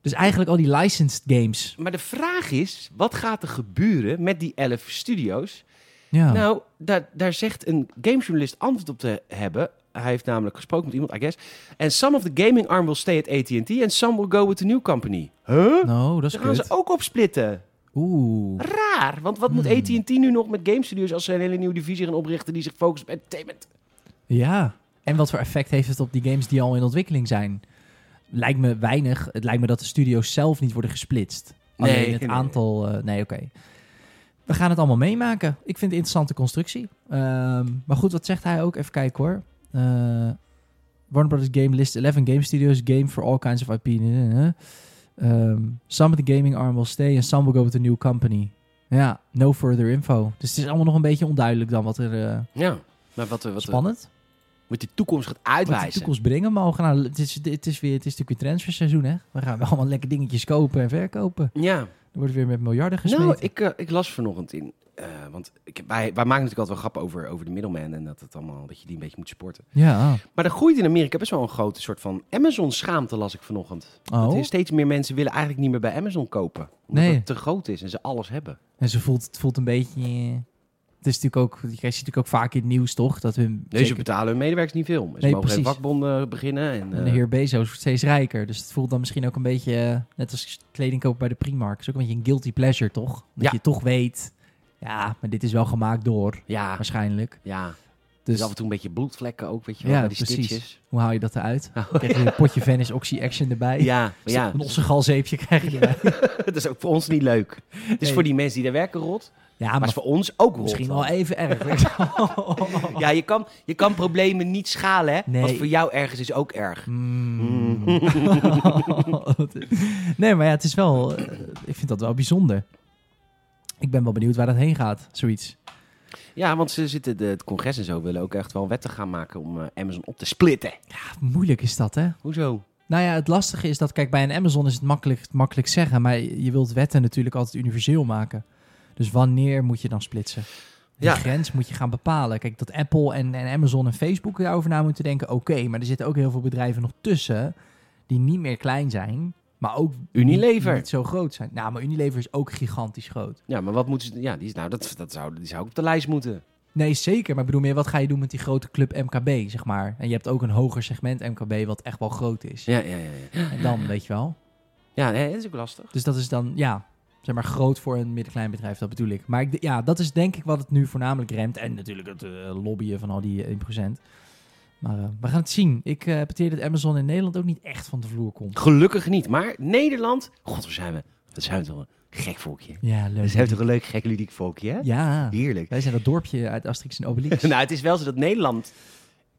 Speaker 2: Dus eigenlijk al die licensed games.
Speaker 1: Maar de vraag is, wat gaat er gebeuren met die elf studio's?
Speaker 2: Ja.
Speaker 1: Nou, daar, daar zegt een gamejournalist antwoord op te hebben. Hij heeft namelijk gesproken met iemand, I guess. And some of the gaming arm will stay at AT&T and some will go with the new company. Huh?
Speaker 2: Nou, dat is
Speaker 1: Ze gaan ze
Speaker 2: kut.
Speaker 1: ook opsplitten.
Speaker 2: Oeh.
Speaker 1: Raar, want wat moet E AT&T nu nog met game studios als ze een hele nieuwe divisie gaan oprichten die zich focust op entertainment?
Speaker 2: Ja. En wat voor effect heeft het op die games die al in ontwikkeling zijn? lijkt me weinig. Het lijkt me dat de studio's zelf niet worden gesplitst.
Speaker 1: Nee,
Speaker 2: Alleen het
Speaker 1: nee.
Speaker 2: aantal... eh, nee, oké. We gaan het allemaal meemaken. Ik vind het een interessante constructie. Ehm, maar goed, wat zegt hij ook? Even kijken hoor. Eh, Warner Brothers Game List 11 Game Studios. Game for all kinds of IP. Eh, eh. Ehm, some of the gaming arm will stay and some will go with a new company. Ja, no further info. Dus het is allemaal nog een beetje onduidelijk dan wat er... eh,
Speaker 1: Ja, maar wat, eh, wat, eh,
Speaker 2: spannend.
Speaker 1: wat de toekomst gaat
Speaker 2: Wat de
Speaker 1: uitwijzen.
Speaker 2: toekomst brengen mogen. Nou, het, is, het, is weer, het is natuurlijk weer transferseizoen, hè? We gaan wel allemaal lekker dingetjes kopen en verkopen.
Speaker 1: Ja,
Speaker 2: Er wordt weer met miljarden gesmeten.
Speaker 1: nou, ik, eh, ik las vanochtend in. eh, want ik, wij, wij maken natuurlijk altijd wel grappen over, over de middleman en dat, het allemaal, dat je die een beetje moet supporten.
Speaker 2: Ja.
Speaker 1: Maar er groeit in Amerika best wel een grote soort van Amazon-schaamte, las ik vanochtend. Dat
Speaker 2: Oh.
Speaker 1: er steeds meer mensen willen eigenlijk niet meer bij Amazon kopen. Omdat
Speaker 2: Nee.
Speaker 1: het te groot is en ze alles hebben.
Speaker 2: En ze voelt, het voelt een beetje... eh, Het is natuurlijk ook... Je ziet natuurlijk ook vaak in het nieuws, toch? Dat we
Speaker 1: Nee, ze
Speaker 2: zeker-
Speaker 1: betalen hun medewerkers niet veel. Ze
Speaker 2: Nee,
Speaker 1: mogen geen
Speaker 2: precies.
Speaker 1: vakbonden beginnen. En,
Speaker 2: en de
Speaker 1: eh,
Speaker 2: heer Bezos wordt steeds rijker. Dus het voelt dan misschien ook een beetje... eh, Net als kleding kopen bij de Primark. is ook een beetje een guilty pleasure, toch? Dat
Speaker 1: Ja.
Speaker 2: je toch weet... Ja, maar dit is wel gemaakt door,
Speaker 1: ja,
Speaker 2: waarschijnlijk.
Speaker 1: ja. Dus
Speaker 2: Dus
Speaker 1: af en toe een beetje bloedvlekken ook, weet je wel.
Speaker 2: Ja,
Speaker 1: bij die
Speaker 2: precies.
Speaker 1: stitches.
Speaker 2: hoe haal je dat eruit?
Speaker 1: Oh,
Speaker 2: Krijg je een potje Venice Oxy Action erbij?
Speaker 1: <laughs> <laughs> Ja, maar ja.
Speaker 2: Een ossengalzeepje krijg
Speaker 1: <laughs>
Speaker 2: je erbij.
Speaker 1: dat is ook voor ons niet leuk. Het is
Speaker 2: Nee.
Speaker 1: voor die mensen die daar werken rot. Maar,
Speaker 2: Ja, maar
Speaker 1: is eh, voor ons ook rot.
Speaker 2: misschien wel even
Speaker 1: <laughs>
Speaker 2: erg.
Speaker 1: Ja, je kan, je kan problemen niet schalen, hè.
Speaker 2: Nee.
Speaker 1: Wat voor jou ergens is ook erg.
Speaker 2: <laughs> Mm. <laughs> nee, maar ja, het is wel... eh, ik vind dat wel bijzonder. Ik ben wel benieuwd waar dat heen gaat, zoiets.
Speaker 1: Ja, want ze zitten, de, het congres en zo willen ook echt wel een wet te gaan maken om eh, Amazon op te splitten.
Speaker 2: Ja, Ah, moeilijk is dat, hè?
Speaker 1: Hoezo?
Speaker 2: Nou ja, het lastige is dat... Kijk, bij een Amazon is het makkelijk, makkelijk zeggen... maar je wilt wetten natuurlijk altijd universeel maken. Dus wanneer moet je dan splitsen? Die
Speaker 1: Ja.
Speaker 2: grens moet je gaan bepalen. Kijk, dat Apple en, en Amazon en Facebook daarover na moeten denken... oké, maar er zitten ook heel veel bedrijven nog tussen... die niet meer klein zijn, maar ook
Speaker 1: Unilever.
Speaker 2: Niet, niet zo groot zijn. Nou, maar Unilever is ook gigantisch groot.
Speaker 1: Ja, maar wat moeten ze... Ja, die, is- nou, dat, dat zou, die zou ook op de lijst moeten.
Speaker 2: Nee, zeker. Maar ik bedoel meer, wat ga je doen met die grote club MKB, zeg maar? En je hebt ook een hoger segment MKB wat echt wel groot is.
Speaker 1: Ja, ja, ja. Ja,
Speaker 2: En dan, weet je wel.
Speaker 1: ja nee, dat is ook lastig.
Speaker 2: Dus dat is dan, ja, zeg maar groot voor een middenklein bedrijf, dat bedoel ik. Maar ik, d- ja, dat is denk ik wat het nu voornamelijk remt. En natuurlijk het eh, lobbyen van al die eh, 1%. Maar eh, we gaan het zien. Ik eh peteer dat Amazon in Nederland ook niet echt van de vloer komt.
Speaker 1: Gelukkig niet. Maar Nederland... God, we zijn we... Dat zijn we toch een gek volkje.
Speaker 2: Ja,
Speaker 1: We
Speaker 2: leuk.
Speaker 1: zijn toch een leuk, gek, ludiek volkje, hè?
Speaker 2: Ja,
Speaker 1: Heerlijk.
Speaker 2: wij zijn dat dorpje uit Asterix en
Speaker 1: <laughs>
Speaker 2: Obelix.
Speaker 1: nou, het is wel zo dat Nederland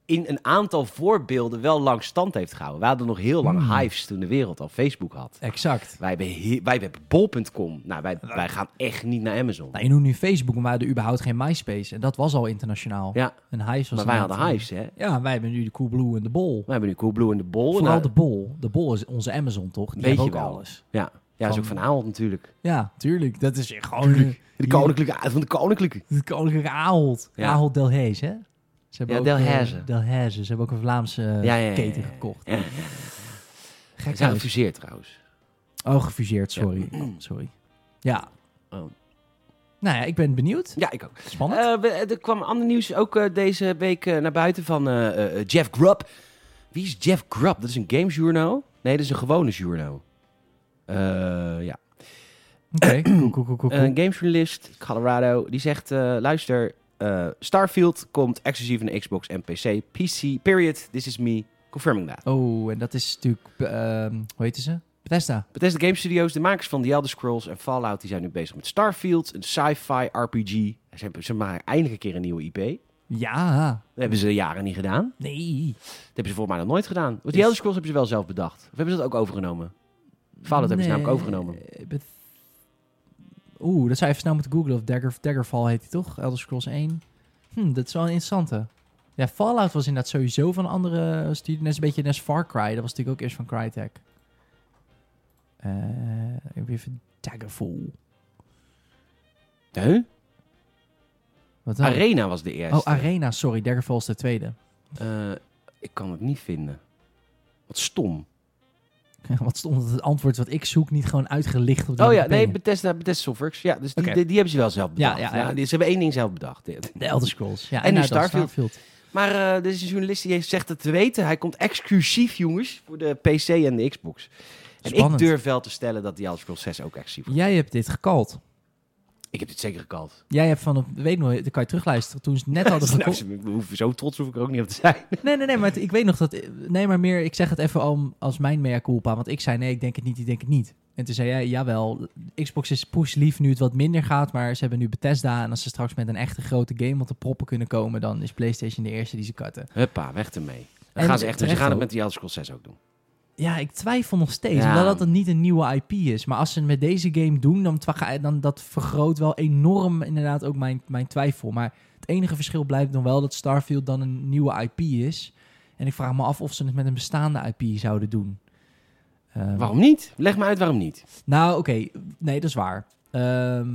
Speaker 1: in een aantal voorbeelden wel lang stand heeft gehouden. We hadden nog heel lang
Speaker 2: Hmm.
Speaker 1: Hives toen de wereld al Facebook had.
Speaker 2: Exact.
Speaker 1: Wij hebben, he- wij hebben bol.com. Nou, wij, wij gaan echt niet naar Amazon.
Speaker 2: Nou, je noemt nu Facebook, maar we hadden überhaupt geen MySpace. En dat was al internationaal.
Speaker 1: Ja,
Speaker 2: En Hives was
Speaker 1: maar wij
Speaker 2: inderdaad-
Speaker 1: hadden Hives, hè?
Speaker 2: Ja, wij hebben nu de Coolblue en de Bol.
Speaker 1: We hebben nu Coolblue en de Bol.
Speaker 2: Vooral
Speaker 1: Nou,
Speaker 2: de Bol. De Bol is onze Amazon, toch? Die
Speaker 1: Weet
Speaker 2: hebben
Speaker 1: je
Speaker 2: ook
Speaker 1: wel.
Speaker 2: alles.
Speaker 1: Ja, ja dat is ook
Speaker 2: Van-
Speaker 1: van Ahold natuurlijk.
Speaker 2: Ja, tuurlijk. Dat is echt gewoon... eh,
Speaker 1: De koninklijke, van de koninklijke.
Speaker 2: De koninklijke Ahold.
Speaker 1: Ja.
Speaker 2: Ahold Delhaize, hè? Ze hebben
Speaker 1: Ja,
Speaker 2: ook,
Speaker 1: Delhaize.
Speaker 2: eh, Delhaize. Ze hebben ook een Vlaamse eh,
Speaker 1: Ja, ja, ja,
Speaker 2: keten
Speaker 1: ja, ja.
Speaker 2: gekocht.
Speaker 1: Ja, we
Speaker 2: Gek
Speaker 1: zijn
Speaker 2: huis.
Speaker 1: gefuseerd trouwens.
Speaker 2: Oh, gefuseerd, sorry. Oh, sorry. Ja.
Speaker 1: Oh.
Speaker 2: Nou ja, ik ben benieuwd.
Speaker 1: Ja, ik ook.
Speaker 2: Spannend.
Speaker 1: Eh, we- er kwam ander nieuws ook eh, deze week eh, naar buiten van eh, eh, eh, Jeff Grubb. Wie is Jeff Grubb? Dat is een gamejourno? Nee, dat is een gewone journo. Eh, ja.
Speaker 2: Oké,
Speaker 1: Eh, <clears throat>
Speaker 2: cool, cool, cool, cool, cool.
Speaker 1: Een gamejournalist, Colorado, die zegt... eh, luister, eh, Starfield komt exclusief in de Xbox en PC. PC, period, this is me, confirming that.
Speaker 2: Oh, en dat is natuurlijk... ehm, hoe heet ze? Bethesda.
Speaker 1: Bethesda Game Studios, de makers van The Elder Scrolls en Fallout... die zijn nu bezig met Starfield, een sci-fi RPG. Ze, ze maken eindelijk een keer een nieuwe IP. Dat
Speaker 2: Ja.
Speaker 1: hebben ze jaren niet gedaan.
Speaker 2: Nee.
Speaker 1: Dat hebben ze volgens mij nog nooit gedaan. Want die
Speaker 2: Is-
Speaker 1: Elder Scrolls hebben ze wel zelf bedacht. Of hebben ze dat ook overgenomen? Fallout hebben ze namelijk overgenomen.
Speaker 2: Eh, Beth- Oeh, dat zou je even snel moeten googlen. Of Dagger, Daggerfall heet die toch? Elder Scrolls 1. Hm, dat is wel een interessante. Ja, Fallout was inderdaad sowieso van andere studie. Net een beetje net als Far Cry. Dat was natuurlijk ook eerst van Crytek. Eh, ik heb even Daggerfall.
Speaker 1: Huh?
Speaker 2: Wat dan?
Speaker 1: Arena was de eerste.
Speaker 2: Nou. Oh, Arena, sorry. Daggerfall is de tweede. <laughs>
Speaker 1: Eh, ik kan het niet vinden. Wat stom.
Speaker 2: Wat stond het antwoord wat ik zoek niet gewoon uitgelicht op de
Speaker 1: Oh ja, nee,
Speaker 2: Wikipedia?
Speaker 1: Bethesda, Bethesda Softworks. Ja, dus die,
Speaker 2: Oké.
Speaker 1: die, die hebben ze wel zelf bedacht. Ja,
Speaker 2: ja, ja.
Speaker 1: die- ze hebben één ding zelf bedacht.
Speaker 2: <laughs>
Speaker 1: Dit.
Speaker 2: De Elder Scrolls. Ja,
Speaker 1: En nu
Speaker 2: nou, dan
Speaker 1: Starfield. Maar eh, er is een journalist die heeft- zegt het te weten. Hij komt exclusief, jongens, voor de PC en de Xbox. En
Speaker 2: Spannend.
Speaker 1: ik durf wel te stellen dat die Elder Scrolls 6 ook exclusief wordt.
Speaker 2: Jij hebt dit gekald.
Speaker 1: Ik heb dit zeker gekald.
Speaker 2: Jij hebt van, op, weet nog, dat kan je terugluisteren. Toen ze het net
Speaker 1: <laughs>
Speaker 2: hadden
Speaker 1: Nou,
Speaker 2: gekocht.
Speaker 1: ze- hoef- zo trots hoef ik er ook niet op te zijn.
Speaker 2: Nee, nee, nee, maar het- ik weet nog dat. Nee, maar meer, ik zeg het even om, als mijn mea culpa. Want ik zei nee, ik denk het niet, ik denk het niet. En toen zei jij, jawel, Xbox is pushlief nu het wat minder gaat. Maar ze hebben nu Bethesda. En als ze straks met een echte grote game op de proppen kunnen komen. dan is PlayStation de eerste die ze katten.
Speaker 1: Huppa, weg ermee. Dan
Speaker 2: En
Speaker 1: gaan ze echt, doen. ze
Speaker 2: terecht
Speaker 1: gaan het
Speaker 2: ook.
Speaker 1: met die Elder Scrolls 6 ook doen.
Speaker 2: Ja, ik twijfel nog steeds.
Speaker 1: Ja.
Speaker 2: Omdat dat het niet een nieuwe IP is. Maar als ze het met deze game doen, dan, twa- ga- dan dat vergroot wel enorm inderdaad ook mijn, mijn twijfel. Maar het enige verschil blijft dan wel dat Starfield dan een nieuwe IP is. En ik vraag me af of ze het met een bestaande IP zouden doen. Ehm,
Speaker 1: Waarom niet? Leg me uit waarom niet.
Speaker 2: Nou, oké. Nee, dat is waar. Ehm,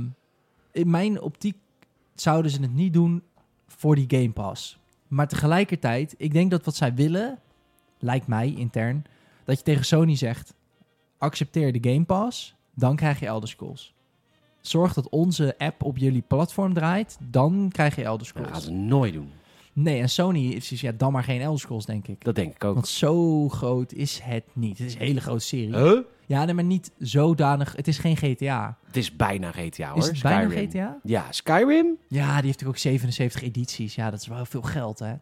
Speaker 2: in mijn optiek zouden ze het niet doen voor die Game Pass. Maar tegelijkertijd, ik denk dat wat zij willen, lijkt mij intern, dat je tegen Sony zegt: accepteer de Game Pass, dan krijg je Elder Scrolls. Zorg dat onze app op jullie platform draait, dan krijg je Elder
Speaker 1: Dat gaan
Speaker 2: Scrolls.
Speaker 1: ze nooit doen.
Speaker 2: Nee, en Sony is dus ja, dan maar geen Elder Scrolls, denk ik.
Speaker 1: Dat denk ik ook.
Speaker 2: Want zo groot is het niet. Het is een hele grote serie.
Speaker 1: Huh?
Speaker 2: Ja, nee, maar niet zodanig. Het is geen GTA.
Speaker 1: Het is bijna GTA hoor.
Speaker 2: Is het bijna
Speaker 1: Skyrim.
Speaker 2: GTA?
Speaker 1: Ja, Skyrim.
Speaker 2: Ja, die heeft natuurlijk ook 77 edities. Ja, dat is wel veel geld, hè?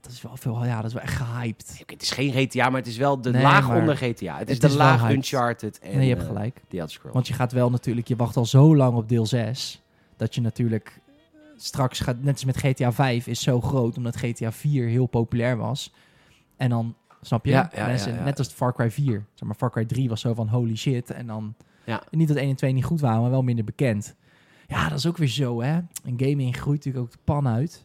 Speaker 2: Dat is wel veel, ja, dat is wel echt gehyped.
Speaker 1: Oké, het is geen GTA, maar het is wel de
Speaker 2: Nee,
Speaker 1: laag
Speaker 2: maar
Speaker 1: onder GTA. Het is
Speaker 2: het
Speaker 1: de
Speaker 2: is wel
Speaker 1: laag
Speaker 2: hyped.
Speaker 1: Uncharted en
Speaker 2: nee, je hebt
Speaker 1: eh,
Speaker 2: gelijk.
Speaker 1: The Elder Scrolls.
Speaker 2: Want je gaat wel natuurlijk, je wacht al zo lang op deel 6, dat je natuurlijk eh, straks gaat, net als met GTA 5 is zo groot, omdat GTA 4 heel populair was. En dan, snap je?
Speaker 1: Ja, ja,
Speaker 2: Mensen,
Speaker 1: ja, ja.
Speaker 2: Net als Far Cry 4. Zeg maar, Far Cry 3 was zo van holy shit. En dan,
Speaker 1: Ja.
Speaker 2: en niet dat 1 en 2 niet goed waren, maar wel minder bekend. Ja, dat is ook weer zo, hè. En gaming groeit natuurlijk ook de pan uit.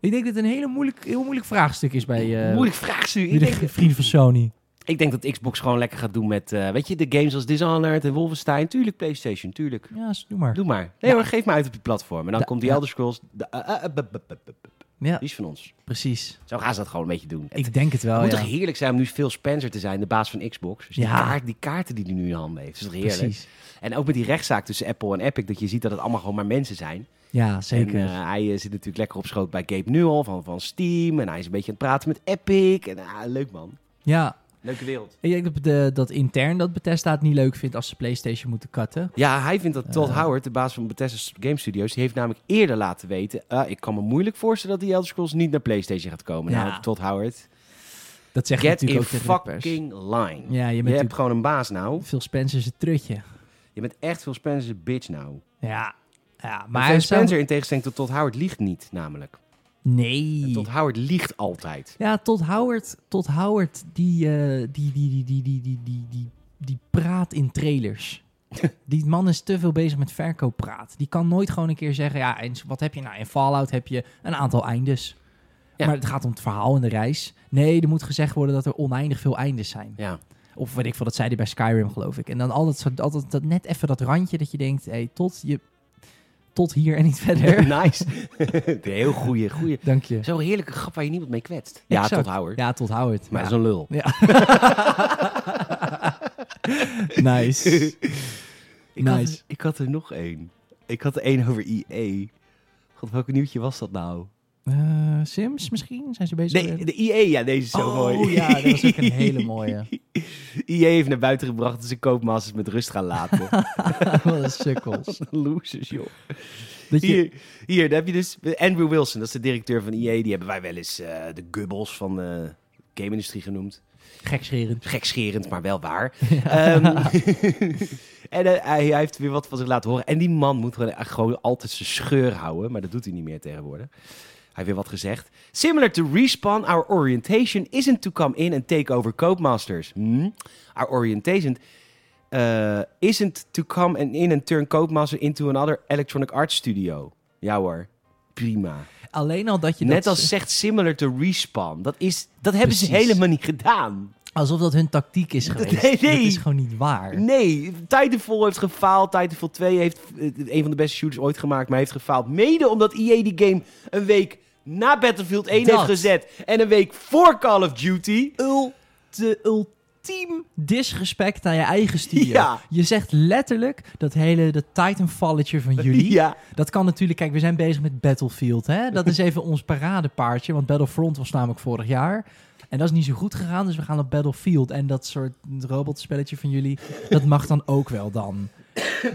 Speaker 2: Ik denk dat het een hele moeilijk, heel moeilijk vraagstuk is bij eh
Speaker 1: Moeilijk vraagstuk. Ik
Speaker 2: jullie
Speaker 1: denk,
Speaker 2: vrienden van Sony.
Speaker 1: ik denk dat Xbox gewoon lekker gaat doen met, eh, weet je, de games als Dishonored en Wolfenstein. Tuurlijk, PlayStation, tuurlijk.
Speaker 2: Ja, doe maar.
Speaker 1: Doe maar. Nee
Speaker 2: Ja.
Speaker 1: hoor, geef me uit op je platform. En dan
Speaker 2: Da-
Speaker 1: komt die
Speaker 2: ja.
Speaker 1: Elder Scrolls. de- eh, eh, eh, bup, bup, bup, bup.
Speaker 2: Ja,
Speaker 1: Die is van ons.
Speaker 2: precies.
Speaker 1: Zo gaan ze dat gewoon een beetje doen. Het
Speaker 2: Ik denk het wel,
Speaker 1: moet
Speaker 2: ja.
Speaker 1: toch heerlijk zijn om nu Phil Spencer te zijn, de baas van Xbox. Dus die,
Speaker 2: Ja.
Speaker 1: kaart- die kaarten die hij nu in handen heeft, is toch heerlijk.
Speaker 2: Precies.
Speaker 1: En ook met die rechtszaak tussen Apple en Epic, dat je ziet dat het allemaal gewoon maar mensen zijn.
Speaker 2: Ja, zeker.
Speaker 1: En eh, hij eh, zit natuurlijk lekker op schoot bij Gabe Newell van, van Steam. En hij is een beetje aan het praten met Epic. En ah, leuk man.
Speaker 2: ja,
Speaker 1: Leuke wereld.
Speaker 2: ik denk dat, de, dat intern dat Bethesda het niet leuk vindt als ze PlayStation moeten cutten.
Speaker 1: Ja, hij vindt dat Todd
Speaker 2: Eh.
Speaker 1: Howard, de baas van Bethesda Game Studios, die heeft namelijk eerder laten weten... eh, ik kan me moeilijk voorstellen dat die Elder Scrolls niet naar PlayStation gaat komen.
Speaker 2: Ja.
Speaker 1: Nou, Todd Howard,
Speaker 2: Dat zegt
Speaker 1: get in
Speaker 2: natuurlijk ook tegen de pers.
Speaker 1: fucking line.
Speaker 2: Ja, je bent
Speaker 1: je hebt
Speaker 2: natuurlijk
Speaker 1: gewoon een baas nou.
Speaker 2: Phil Spencer zijn trutje.
Speaker 1: Je bent echt veel Spencer's bitch nou.
Speaker 2: Ja, ja maar
Speaker 1: Maar
Speaker 2: hij zou-
Speaker 1: Spencer, in tegenstelling tot Todd Howard, liegt niet namelijk. En
Speaker 2: Nee.
Speaker 1: Todd Howard liegt altijd.
Speaker 2: Ja, tot Howard, tot Howard die, eh, die, die, die, die, die, die, die, die, die praat in
Speaker 1: <laughs>
Speaker 2: trailers. Die man is te veel bezig met verkooppraat. Die kan nooit gewoon een keer zeggen, ja, en wat heb je nou? In Fallout heb je een aantal eindes.
Speaker 1: Ja.
Speaker 2: Maar het gaat om het verhaal en de reis. Nee, er moet gezegd worden dat er oneindig veel eindes zijn.
Speaker 1: <laughs> Ja,
Speaker 2: Of weet ik veel, dat zei hij bij Skyrim, geloof ik. En dan altijd, zo- altijd dat, net even dat randje dat je denkt, hey, tot, je, tot hier en niet
Speaker 1: <laughs>
Speaker 2: verder.
Speaker 1: nice. Heel goeie, goeie.
Speaker 2: Dank je.
Speaker 1: Zo'n heerlijke grap waar je niemand mee kwetst. Ja,
Speaker 2: Exact.
Speaker 1: tot Howard.
Speaker 2: Ja, tot Howard.
Speaker 1: Maar
Speaker 2: Ja.
Speaker 1: dat is een <laughs> lul.
Speaker 2: Ja.
Speaker 1: <laughs>
Speaker 2: nice.
Speaker 1: Ik,
Speaker 2: Nice.
Speaker 1: had, ik had er nog één. Ik had er één over IE. God, welk nieuwtje was dat nou?
Speaker 2: Eh, Sims misschien? Zijn ze bezig?
Speaker 1: Nee,
Speaker 2: <laughs> met-
Speaker 1: de IE, ja, deze is zo
Speaker 2: oh
Speaker 1: mooi.
Speaker 2: ja, dat was
Speaker 1: <laughs>
Speaker 2: ook een hele mooie.
Speaker 1: IE heeft naar buiten gebracht dat ze koopmasters met rust gaan laten.
Speaker 2: Wat een sukkels.
Speaker 1: <laughs> Losers, joh.
Speaker 2: Dat je,
Speaker 1: Hier, hier, daar heb je dus Andrew Wilson, dat is de directeur van IE. Die hebben wij wel eens eh, de gubbels van de game-industrie genoemd.
Speaker 2: gekscherend.
Speaker 1: Gekscherend, maar wel
Speaker 2: <laughs>
Speaker 1: waar. Ehm, <laughs> en eh, hij, hij heeft weer wat van zich laten horen. En die man moet gewoon, eh, gewoon altijd zijn scheur houden. Maar dat doet hij niet meer tegenwoordig. Hij heeft weer wat gezegd. Similar to Respawn, our orientation isn't to come in and take over Codemasters. Hmm? Our orientation eh, isn't to come and in and turn Codemaster into another electronic arts studio. Ja hoor, prima.
Speaker 2: Alleen al dat je
Speaker 1: Net
Speaker 2: dat,
Speaker 1: als zegt similar to Respawn. Dat, is, dat hebben ze
Speaker 2: Precies.
Speaker 1: helemaal niet gedaan.
Speaker 2: Alsof dat hun tactiek is geweest.
Speaker 1: nee.
Speaker 2: Dat is gewoon niet waar.
Speaker 1: Nee, Titanfall heeft gefaald. Titanfall 2 heeft eh, een van de beste shooters ooit gemaakt, maar heeft gefaald. Mede omdat EA die game een week na Battlefield 1
Speaker 2: Dat.
Speaker 1: heeft gezet. En een week voor Call of Duty.
Speaker 2: Ulte, ultiem disrespect aan je eigen studio.
Speaker 1: Ja.
Speaker 2: Je zegt letterlijk dat hele dat Titanfalletje <laughs> van
Speaker 1: <laughs>
Speaker 2: jullie.
Speaker 1: Ja,
Speaker 2: Dat kan natuurlijk, kijk, we zijn bezig met Battlefield. Hè? Dat is even ons paradepaardje, want Battlefront was namelijk vorig jaar. En dat is niet zo goed gegaan, dus we gaan op Battlefield. En dat soort robotspelletje van jullie, dat mag dan ook wel dan.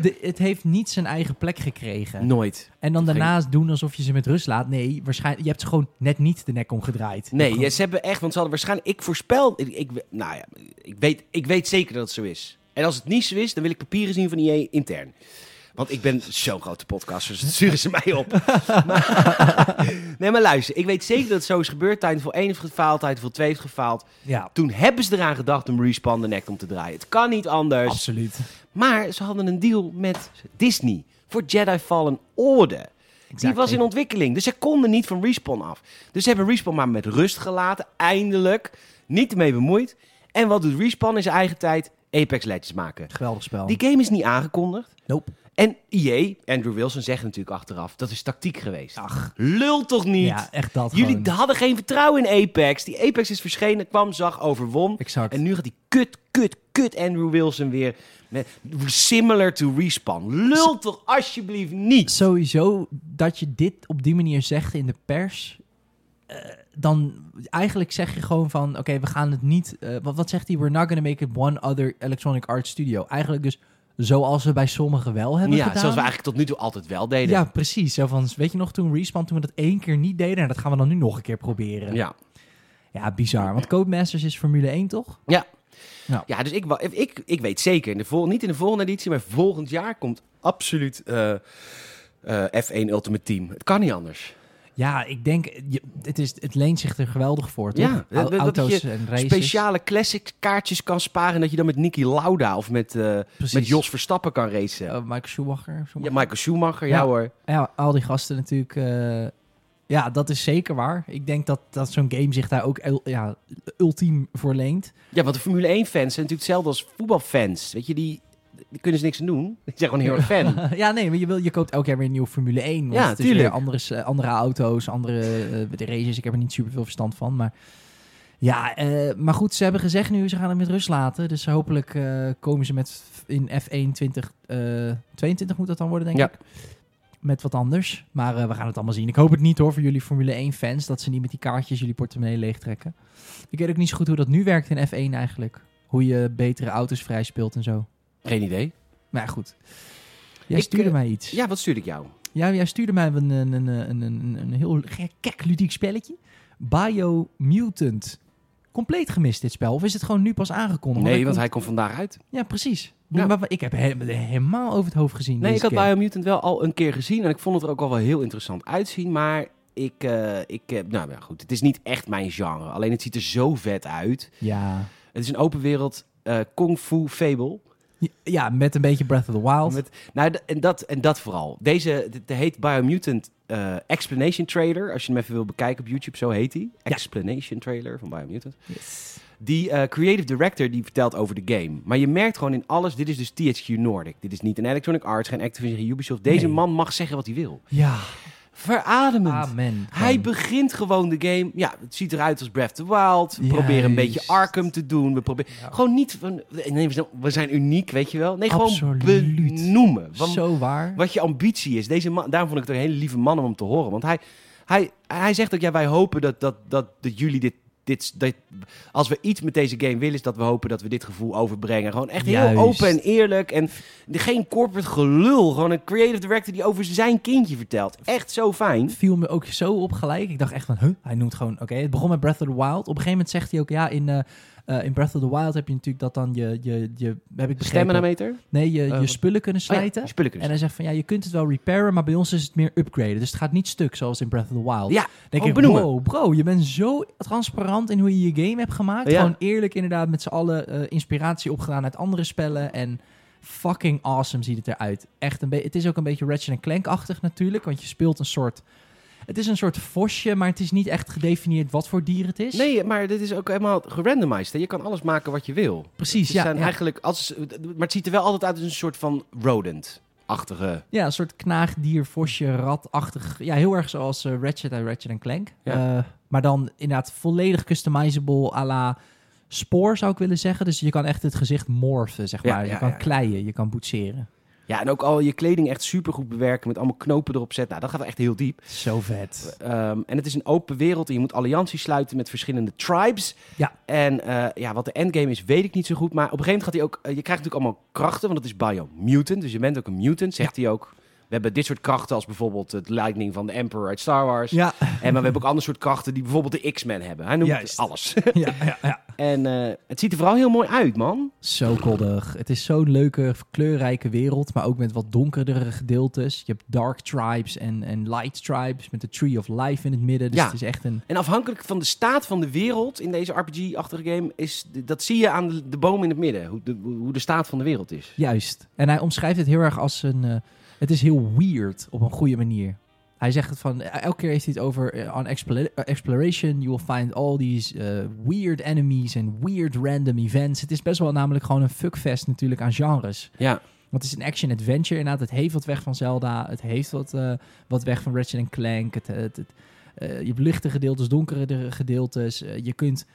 Speaker 2: de- het heeft niet zijn eigen plek gekregen.
Speaker 1: Nooit.
Speaker 2: En dan
Speaker 1: Geen-
Speaker 2: daarnaast doen alsof je ze met rust laat. Nee, waarschijnlijk, je hebt ze gewoon net niet de nek omgedraaid.
Speaker 1: Nee,
Speaker 2: Gewoon-
Speaker 1: ja, ze hebben echt, want ze hadden waarschijnlijk. Ik voorspel. Ik, ik, nou ja, ik weet, ik weet zeker dat het zo is. En als het niet zo is, dan wil ik papieren zien van IE intern. Want ik ben zo'n grote podcaster, dus dat sturen ze mij
Speaker 2: <laughs>
Speaker 1: op. Maar- <laughs> nee, maar luister, ik weet zeker dat het zo is gebeurd. Tijdens voor 1 heeft gefaald, tijdens voor 2 heeft gefaald.
Speaker 2: ja,
Speaker 1: Toen hebben ze eraan gedacht om Respawn de nek om te draaien. Het kan niet anders.
Speaker 2: absoluut.
Speaker 1: Maar ze hadden een deal met Disney voor Jedi Fallen Order. Die was in ontwikkeling, dus ze konden niet van Respawn af. Dus ze hebben Respawn maar met rust gelaten, eindelijk. Niet ermee bemoeid. En wat doet Respawn in zijn eigen tijd? Apex Legends maken.
Speaker 2: Geweldig spel.
Speaker 1: Die game is niet aangekondigd.
Speaker 2: Nope.
Speaker 1: En EA, Andrew Wilson, zegt natuurlijk achteraf, dat is tactiek geweest.
Speaker 2: Ach,
Speaker 1: Lul toch niet?
Speaker 2: ja, echt dat
Speaker 1: Jullie
Speaker 2: gewoon.
Speaker 1: hadden geen vertrouwen in Apex. Die Apex is verschenen, kwam, zag, overwon.
Speaker 2: Exact.
Speaker 1: En nu gaat die kut, kut, kut Andrew Wilson weer met similar to Respawn. Lul toch alsjeblieft niet.
Speaker 2: Sowieso dat je dit op die manier zegt in de pers. eh, dan eigenlijk zeg je gewoon van... Oké, we gaan het niet... eh, wat, wat zegt hij? We're not gonna make it one other Electronic Arts studio. Eigenlijk dus zoals we bij sommigen wel hebben
Speaker 1: Ja,
Speaker 2: gedaan.
Speaker 1: zoals we eigenlijk tot nu toe altijd wel deden.
Speaker 2: Ja, precies. Zo van, weet je nog toen Respawn, toen we dat één keer niet deden... en dat gaan we dan nu nog een keer proberen.
Speaker 1: Ja.
Speaker 2: Ja, bizar. Want Codemasters is Formule 1, toch?
Speaker 1: Ja.
Speaker 2: Ja.
Speaker 1: ja, dus ik, wa- ik, ik weet zeker, in de vol, niet in de volgende editie, maar volgend jaar komt absoluut eh, eh, F1 Ultimate Team. Het kan niet anders.
Speaker 2: Ja, ik denk... je- het, is, het leent zich er geweldig voor, toch?
Speaker 1: Ja,
Speaker 2: Au-
Speaker 1: dat- dat
Speaker 2: auto's
Speaker 1: je
Speaker 2: en races.
Speaker 1: Speciale classic kaartjes kan sparen en dat je dan met Niki Lauda of met, eh,
Speaker 2: Precies.
Speaker 1: met Jos Verstappen kan racen.
Speaker 2: Eh, Michael Schumacher. of zo.
Speaker 1: Ja, Michael Schumacher, ja,
Speaker 2: Ja.
Speaker 1: hoor.
Speaker 2: Ja, al die gasten natuurlijk. eh, ja, dat is zeker waar. Ik denk dat, dat zo'n game zich daar ook el- ja, ultiem voor
Speaker 1: <laughs>
Speaker 2: leent.
Speaker 1: Ja, want de Formule 1-fans zijn natuurlijk hetzelfde als voetbalfans. Weet je, die, die kunnen ze niks aan doen. <laughs> Die zijn gewoon heel erg fan.
Speaker 2: ja, nee, maar je, wil, je koopt elk jaar weer een nieuwe Formule 1. Want
Speaker 1: Ja,
Speaker 2: het is
Speaker 1: tuurlijk.
Speaker 2: weer andere, s- eh, andere auto's, andere eh, de races. Ik heb er niet super veel verstand van, maar... Ja, eh, maar goed, ze hebben gezegd nu, ze gaan het met rust laten. Dus hopelijk eh, komen ze met f- in F1 2022 moet dat dan worden, <laughs> denk
Speaker 1: Ja.
Speaker 2: ik. Met wat anders. Maar eh, we gaan het allemaal zien. Ik hoop het niet hoor, voor jullie Formule 1-fans, dat ze niet met die kaartjes jullie portemonnee leegtrekken. Ik weet ook niet zo goed hoe dat nu werkt in F1 eigenlijk. Hoe je betere auto's vrij speelt en zo.
Speaker 1: Geen idee.
Speaker 2: Maar ja, goed. Jij
Speaker 1: Ik,
Speaker 2: stuurde
Speaker 1: eh,
Speaker 2: mij iets.
Speaker 1: Ja, wat stuurde ik jou?
Speaker 2: Ja, jij stuurde mij een, een, een, een, een, een heel gek, kek ludiek spelletje. Biomutant. Compleet gemist dit spel. Of is het gewoon nu pas aangekondigd?
Speaker 1: Nee,
Speaker 2: ik
Speaker 1: want
Speaker 2: kom-
Speaker 1: hij komt vandaag uit.
Speaker 2: Ja, precies.
Speaker 1: Ja.
Speaker 2: Maar, maar ik heb hem helemaal over het hoofd gezien.
Speaker 1: Nee, ik
Speaker 2: deze
Speaker 1: had
Speaker 2: keer.
Speaker 1: Biomutant wel al een keer gezien. En ik vond het er ook al wel heel interessant uitzien. Maar ik, eh, ik eh, nou ja, goed. Het is niet echt mijn genre. Alleen het ziet er zo vet uit.
Speaker 2: Ja.
Speaker 1: Het is een open wereld eh kung fu fable.
Speaker 2: ja, met een beetje Breath of the Wild.
Speaker 1: Met, nou, d- en, dat, en dat vooral. Deze de, de heet Biomutant eh, Explanation Trailer. Als je hem even wil bekijken op YouTube, zo heet hij.
Speaker 2: Ja.
Speaker 1: Explanation Trailer van Biomutant.
Speaker 2: Yes.
Speaker 1: Die eh, creative director die vertelt over de game. Maar je merkt gewoon in alles, dit is dus THQ Nordic. Dit is niet een Electronic Arts, geen Activision, geen Ubisoft. Deze
Speaker 2: Nee.
Speaker 1: man mag zeggen wat hij wil.
Speaker 2: Ja,
Speaker 1: Verademend.
Speaker 2: amen.
Speaker 1: Hij
Speaker 2: Gewoon.
Speaker 1: begint gewoon de game. Ja, het ziet eruit als Breath of the Wild. We
Speaker 2: Juist.
Speaker 1: proberen een beetje Arkham te doen. We proberen
Speaker 2: Ja.
Speaker 1: gewoon niet van nee, we zijn- we zijn uniek, weet je wel? Nee, gewoon
Speaker 2: Absoluut.
Speaker 1: benoemen. Want
Speaker 2: Zo waar.
Speaker 1: wat je ambitie is. Deze man, daarom vond ik het een hele lieve man om hem te horen, want hij hij, hij zegt ook ja, wij hopen dat dat dat, dat jullie dit dit, dit- als we iets met deze game willen, is dat we hopen dat we dit gevoel overbrengen. Gewoon echt heel
Speaker 2: Juist.
Speaker 1: open en eerlijk. En geen corporate gelul. Gewoon een creative director die over zijn kindje vertelt. Echt zo fijn.
Speaker 2: viel me ook zo op gelijk. Ik dacht echt van, huh? hij noemt gewoon, oké, het begon met Breath of the Wild. Op een gegeven moment zegt hij ook, ja, in, eh, eh, in Breath of the Wild heb je natuurlijk dat dan je, je, je heb ik begrepen,
Speaker 1: Stemmenameter?
Speaker 2: nee, je,
Speaker 1: Eh,
Speaker 2: je
Speaker 1: wat-
Speaker 2: spullen kunnen
Speaker 1: Oh ja,
Speaker 2: slijten.
Speaker 1: je spullen kunnen
Speaker 2: En hij zegt van, ja, je kunt het wel repairen, maar bij ons is het meer upgraden. Dus het gaat niet stuk, zoals in Breath of the Wild.
Speaker 1: Ja,
Speaker 2: Dan
Speaker 1: ook
Speaker 2: denk ik,
Speaker 1: Oh, benoemen.
Speaker 2: wow, bro, je bent zo transparant in hoe je je game hebt gemaakt.
Speaker 1: Ja.
Speaker 2: Gewoon eerlijk inderdaad, met z'n allen eh, inspiratie opgedaan uit andere spellen. En fucking awesome ziet het eruit. Echt een beetje, het is ook een beetje Ratchet Clank-achtig natuurlijk, want je speelt een soort... Het is een soort vosje, maar het is niet echt gedefinieerd wat voor dier het is.
Speaker 1: Nee, maar dit is ook helemaal gerandomized. Hè? Je kan alles maken wat je wil.
Speaker 2: Precies,
Speaker 1: Ze
Speaker 2: ja,
Speaker 1: zijn
Speaker 2: ja.
Speaker 1: eigenlijk als, maar het ziet er wel altijd uit als een soort van rodent-achtige.
Speaker 2: Ja, een soort knaagdier, vosje, ratachtig. Ja, heel erg zoals eh, Ratchet en Ratchet en Clank.
Speaker 1: Ja.
Speaker 2: Eh, maar dan inderdaad volledig customizable à la spoor zou ik willen zeggen. Dus je kan echt het gezicht morphen, zeg
Speaker 1: Ja,
Speaker 2: maar.
Speaker 1: ja,
Speaker 2: je kan
Speaker 1: ja, ja.
Speaker 2: kleien, je kan boetseren.
Speaker 1: Ja, en ook al je kleding echt supergoed bewerken met allemaal knopen erop zetten. Nou, dat gaat wel echt heel diep.
Speaker 2: Zo vet.
Speaker 1: Ehm, en het is een open wereld en je moet allianties sluiten met verschillende tribes.
Speaker 2: Ja.
Speaker 1: En eh, ja, wat de endgame is, weet ik niet zo goed. Maar op een gegeven moment gaat hij ook... eh, je krijgt natuurlijk allemaal krachten, want het is Biomutant. Dus je bent ook een mutant, zegt hij ook. We hebben dit soort krachten als bijvoorbeeld het lightning van de Emperor uit Star Wars.
Speaker 2: Ja,
Speaker 1: En maar we hebben ook ander soort krachten die bijvoorbeeld de X-Men hebben. Hij noemt
Speaker 2: Juist.
Speaker 1: alles.
Speaker 2: <laughs>
Speaker 1: <laughs>
Speaker 2: ja, ja, ja.
Speaker 1: en eh, het ziet er vooral heel mooi uit, man.
Speaker 2: Zo koddig. Het is zo'n leuke, kleurrijke wereld, maar ook met wat donkerdere gedeeltes. Je hebt dark tribes en, en light tribes met de Tree of Life in het midden. Dus
Speaker 1: Ja.
Speaker 2: het is echt een...
Speaker 1: En afhankelijk van de staat van de wereld in deze RPG-achtige game, is, dat zie je aan de, de boom in het midden. Hoe de, hoe de staat van de wereld is.
Speaker 2: Juist. En hij omschrijft het heel erg als een... eh, het is heel weird op een goede manier. Hij zegt het van... eh, Elke keer heeft hij het over... eh, on expla- eh, exploration, you will find all these eh, weird enemies and weird random events. Het is best wel namelijk gewoon een fuckfest natuurlijk aan genres.
Speaker 1: Ja,
Speaker 2: Want het is een action-adventure inderdaad. Het heeft wat weg van Zelda. Het heeft wat, eh, wat weg van Ratchet Clank. Het, het, het, eh, je hebt lichte gedeeltes, donkere gedeeltes. Eh, je kunt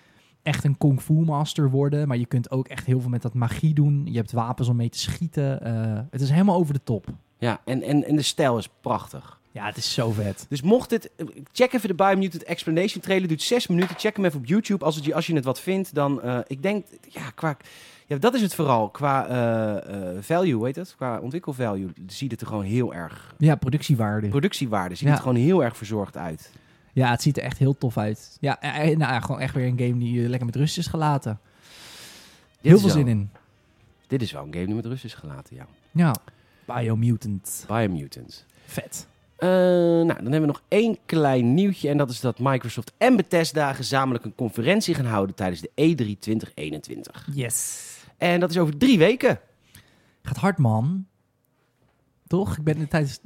Speaker 2: echt een kung fu master worden. Maar je kunt ook echt heel veel met dat magie doen. Je hebt wapens om mee te schieten. Eh, het is helemaal over de top.
Speaker 1: ja. En, en, en de stijl is prachtig.
Speaker 2: Ja, het is zo vet.
Speaker 1: Dus mocht dit... Check even de Biomutant Explanation trailer. Duurt zes minuten. Check hem even op YouTube. Als, het, je- als je het wat vindt, dan... eh, ik denk... Ja, qua... Ja, dat is het vooral. Qua eh, eh, value, hoe heet dat? Qua ontwikkelvalue ziet het er gewoon heel erg...
Speaker 2: Ja, productiewaarde.
Speaker 1: Productiewaarde ziet
Speaker 2: Ja.
Speaker 1: het gewoon heel erg verzorgd uit.
Speaker 2: Ja, het ziet er echt heel tof uit. Ja, eh, eh, nou, ja, gewoon echt weer een game die je lekker met rust is gelaten.
Speaker 1: Dit
Speaker 2: Heel
Speaker 1: is
Speaker 2: veel
Speaker 1: wel-
Speaker 2: zin in.
Speaker 1: Dit is wel een game die met rust is gelaten, ja.
Speaker 2: Ja, Biomutant.
Speaker 1: Biomutant.
Speaker 2: Vet.
Speaker 1: Eh, nou, dan hebben we nog één klein nieuwtje. En dat is dat Microsoft en Bethesda gezamenlijk een conferentie gaan houden tijdens de E E3 2021.
Speaker 2: Yes.
Speaker 1: En dat is over drie weken.
Speaker 2: Gaat hard, man. Toch? Ik ben tijdens...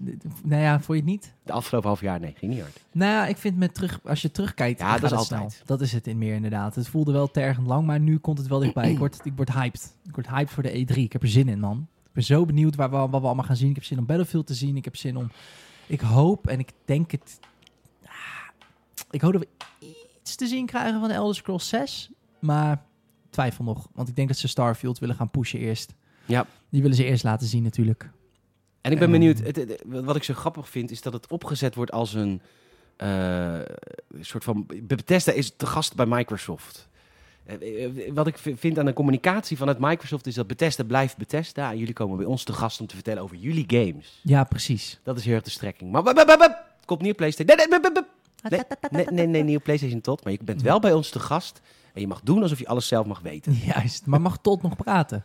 Speaker 2: Nou ja, vond je het niet?
Speaker 1: De afgelopen half jaar, nee, ging niet hard.
Speaker 2: Nou ja, ik vind met terug... Als je terugkijkt...
Speaker 1: Ja,
Speaker 2: gaat
Speaker 1: dat is
Speaker 2: het
Speaker 1: altijd.
Speaker 2: snel. Dat is het in meer inderdaad. Het voelde wel tergend lang, maar nu komt het wel dichtbij. Ik word, ik word hyped. Ik word hyped voor de E3. Ik heb er zin in, man. Ik ben zo benieuwd waar we, wat we allemaal gaan zien. Ik heb zin om Battlefield te zien. Ik heb zin om... Ik hoop en ik denk het... ah, Ik hoop dat we iets te zien krijgen van de Elder Scrolls 6. Maar twijfel nog. Want ik denk dat ze Starfield willen gaan pushen eerst.
Speaker 1: Ja.
Speaker 2: Die willen ze eerst laten zien natuurlijk.
Speaker 1: En ik ben
Speaker 2: Ehm.
Speaker 1: benieuwd, het- het- wat ik zo grappig vind, is dat het opgezet wordt als een eh, soort van... Bethesda is te gast bij Microsoft. Eh, eh, Wat ik vi- vind aan de communicatie vanuit Microsoft is dat Bethesda blijft Bethesda. En jullie komen bij ons te gast om te vertellen over jullie games.
Speaker 2: Ja, precies.
Speaker 1: Dat is heel erg de strekking. Maar wup, wup, wup, wup, het komt niet op PlayStation. Nee, nee, wup, wup, wup. nee, nee, nee, nee, niet op PlayStation tot. Maar je bent wel bij ons te gast. En je mag doen alsof je alles zelf mag weten.
Speaker 2: <laughs> Juist, maar mag Todd nog praten?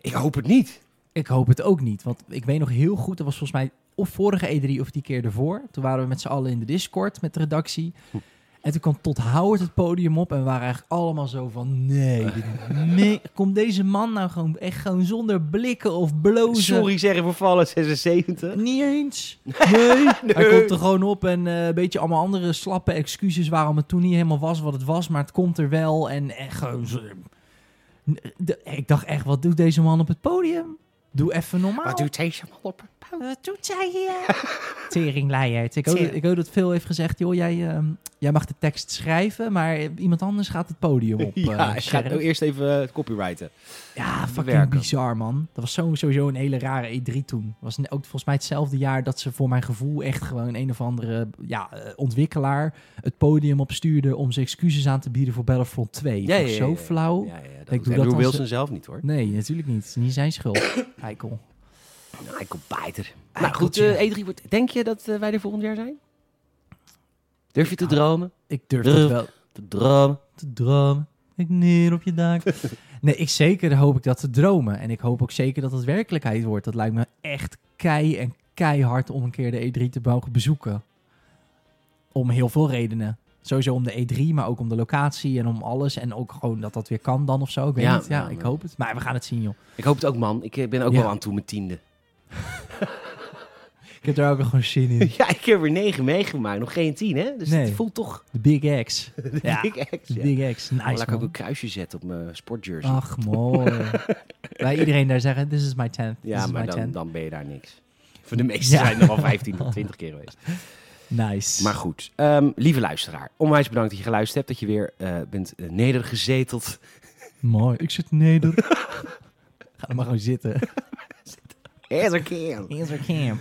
Speaker 1: Ik hoop het niet.
Speaker 2: Ik hoop het ook niet, want ik weet nog heel goed, dat was volgens mij of vorige E3 of die keer ervoor. Toen waren we met z'n allen in de Discord met de redactie. En toen kwam Todd Howard het podium op en we waren eigenlijk allemaal zo van... Nee, dit- nee komt deze man nou gewoon echt gewoon zonder blikken of blozen?
Speaker 1: Sorry zeggen voor Fallout 76.
Speaker 2: Niet eens.
Speaker 1: <laughs>
Speaker 2: Nee. Hij komt er gewoon op en eh, een beetje allemaal andere slappe excuses waarom het toen niet helemaal was wat het was, maar het komt er wel. En, en gewoon. zo- eh, N- de- ik dacht echt, wat doet deze man op het podium? Doe even normaal.
Speaker 1: Wat doet deze man op?
Speaker 2: Wat doet zij
Speaker 1: <laughs>
Speaker 2: hier? Teringleiheid. Ik hoop, ik hoop dat Phil heeft gezegd, joh, jij, ehm, jij mag de tekst schrijven, maar iemand anders gaat het podium op.
Speaker 1: <laughs> Ja,
Speaker 2: eh,
Speaker 1: ik ga
Speaker 2: sheriff.
Speaker 1: nou eerst even eh, het copyrighten.
Speaker 2: Ja, fucking
Speaker 1: bewerken.
Speaker 2: bizar, man. Dat was zo- sowieso een hele rare E3 toen. was ne- ook volgens mij hetzelfde jaar dat ze voor mijn gevoel echt gewoon een of andere ja, eh, ontwikkelaar het podium opstuurde om ze excuses aan te bieden voor Battlefront 2. Ja, zo flauw.
Speaker 1: Ja, ja, ja, dat
Speaker 2: doe
Speaker 1: ik
Speaker 2: dat
Speaker 1: doe
Speaker 2: als-
Speaker 1: Wilson zelf niet hoor.
Speaker 2: Nee, natuurlijk niet. Het is niet zijn <coughs> schuld. Eikel.
Speaker 1: Nou, ik kom bijter.
Speaker 2: Ah,
Speaker 1: Nou goed,
Speaker 2: goed, ja.
Speaker 1: eh, E3 wordt... Denk je dat eh, wij er volgend jaar zijn? Durf je te
Speaker 2: Ja.
Speaker 1: dromen?
Speaker 2: Ik durf
Speaker 1: Durf.
Speaker 2: dat wel
Speaker 1: Te dromen.
Speaker 2: te dromen. Ik neer op je
Speaker 1: <laughs>
Speaker 2: dak. nee, ik zeker hoop ik dat te dromen. En ik hoop ook zeker dat het werkelijkheid wordt. Dat lijkt me echt kei en keihard om een keer de E3 te mogen bezoeken. Om heel veel redenen. Sowieso om de E3, maar ook om de locatie en om alles. En ook gewoon dat dat weer kan dan of zo. Ik weet
Speaker 1: Ja,
Speaker 2: niet. Ja,
Speaker 1: ja,
Speaker 2: ik
Speaker 1: maar-
Speaker 2: hoop het. Maar we gaan het zien, joh.
Speaker 1: Ik hoop het ook man. Ik eh, ben ook
Speaker 2: Ja.
Speaker 1: wel aan toe mijn tiende.
Speaker 2: Ik heb er ook weer gewoon zin in.
Speaker 1: <laughs> Ja, ik heb er negen meegemaakt. Nog geen tien, hè? Dus
Speaker 2: Nee.
Speaker 1: het voelt toch... <laughs>
Speaker 2: De Big X. ja,
Speaker 1: Ik ex,
Speaker 2: de
Speaker 1: ja.
Speaker 2: Big X.
Speaker 1: Maar
Speaker 2: Nice,
Speaker 1: laat ik ook
Speaker 2: man.
Speaker 1: een kruisje zetten op mijn sportjersey.
Speaker 2: Ach,
Speaker 1: <laughs>
Speaker 2: mooi. Wij iedereen daar zeggen, this is my 10th. This
Speaker 1: ja,
Speaker 2: is my
Speaker 1: maar dan,
Speaker 2: 10th.
Speaker 1: dan ben je daar niks. <laughs> Voor de meeste
Speaker 2: Ja.
Speaker 1: zijn er al 15 tot 20 keer geweest. <laughs>
Speaker 2: Nice.
Speaker 1: Maar goed, ehm, lieve luisteraar. Onwijs bedankt dat je geluisterd hebt. Dat je weer eh, bent eh, nedergezeteld.
Speaker 2: <laughs> Mooi. Ik zit neder. Ga er maar gewoon zitten.
Speaker 1: Yes, I can.
Speaker 2: Is er camp?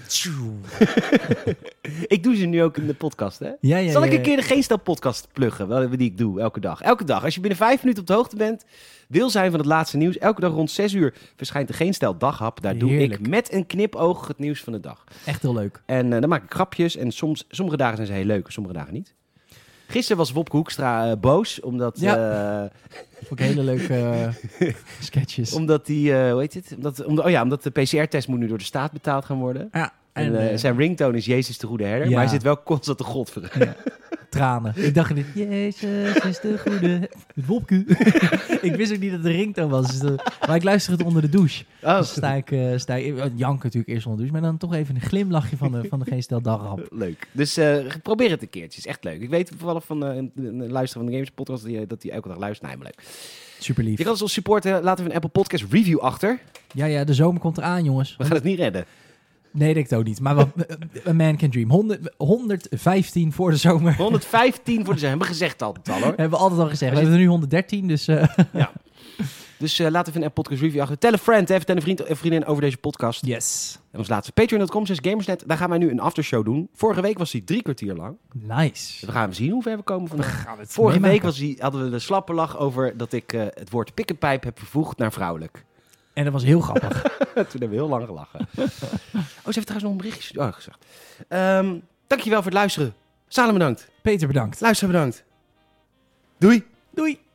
Speaker 1: Ik doe ze nu ook in de podcast, hè?
Speaker 2: Ja, ja,
Speaker 1: Zal ik
Speaker 2: ja,
Speaker 1: een keer de Geen Stijl podcast pluggen, wel- die ik doe elke dag? Elke dag. Als je binnen vijf minuten op de hoogte bent, wil zijn van het laatste nieuws. Elke dag rond zes uur verschijnt de Geen Stijl daghap. Daar doe ik
Speaker 2: Heerlijk.
Speaker 1: met een knipoog het nieuws van de dag.
Speaker 2: Echt heel leuk.
Speaker 1: En eh, dan maak ik grapjes. En soms, sommige dagen zijn ze heel leuk, en sommige dagen niet. Gisteren was Wopke Hoekstra eh, boos, omdat, eh,
Speaker 2: Ook hele leuke eh, sketches.
Speaker 1: omdat, die, eh, hoe heet het? Omdat, omdat, oh ja, omdat de PCR-test moet nu door de staat betaald gaan worden.
Speaker 2: ja,
Speaker 1: En,
Speaker 2: en
Speaker 1: eh,
Speaker 2: eh,
Speaker 1: zijn ringtone is Jezus de Goede Herder,
Speaker 2: Ja.
Speaker 1: maar hij zit wel constant de God
Speaker 2: tranen. Ik dacht niet, Jezus is de goede. <laughs> Het wopku. ik wist ook niet dat het de ringtoon was. Dus, eh, maar ik luister het onder de douche.
Speaker 1: Oh,
Speaker 2: Dus sta ik, eh sta ik eh, jank natuurlijk eerst onder de douche, maar dan toch even een glimlachje van de, van de geen stel dagrap.
Speaker 1: leuk. Dus eh, probeer het een keertje, het is echt leuk. Ik weet toevallig van eh, een, een luisteraar van de Games Podcast die, eh, dat hij elke dag luistert. Nee, maar leuk.
Speaker 2: Super
Speaker 1: Je
Speaker 2: lief.
Speaker 1: kan ons als supporter laten we een Apple Podcast review achter.
Speaker 2: Ja, ja, de zomer komt eraan, jongens.
Speaker 1: We gaan het niet redden.
Speaker 2: Nee, dat ik het ook niet. Maar wat, <laughs> a man can dream. 100, 115 voor de zomer.
Speaker 1: 115 voor de zijn, hebben we gezegd altijd al hoor.
Speaker 2: Hebben we altijd al gezegd. We hebben er nu 113, dus eh,
Speaker 1: Dus eh, laten we een podcast review achter. Tell a friend, hè, vertel een vriend en vriendin over deze podcast.
Speaker 2: yes.
Speaker 1: En ons laatste, patreon.com slash gamersnet. Daar gaan wij nu een aftershow doen. Vorige week was die drie kwartier lang.
Speaker 2: <laughs> Nice.
Speaker 1: Dus we gaan zien hoe ver we komen vandaag.
Speaker 2: Gaan we het
Speaker 1: Vorige
Speaker 2: meemaken.
Speaker 1: week was die, hadden we de slappe lach over dat ik eh, het woord pik en pijp heb vervoegd naar vrouwelijk.
Speaker 2: En dat was heel <laughs>
Speaker 1: <laughs>
Speaker 2: grappig.
Speaker 1: Toen hebben we heel lang gelachen. oh, ze heeft trouwens nog een berichtje gestuurd. oh, gezegd. Ehm, dankjewel voor het luisteren. Salem bedankt.
Speaker 2: Peter, bedankt.
Speaker 1: Luister bedankt. Doei.
Speaker 2: Doei.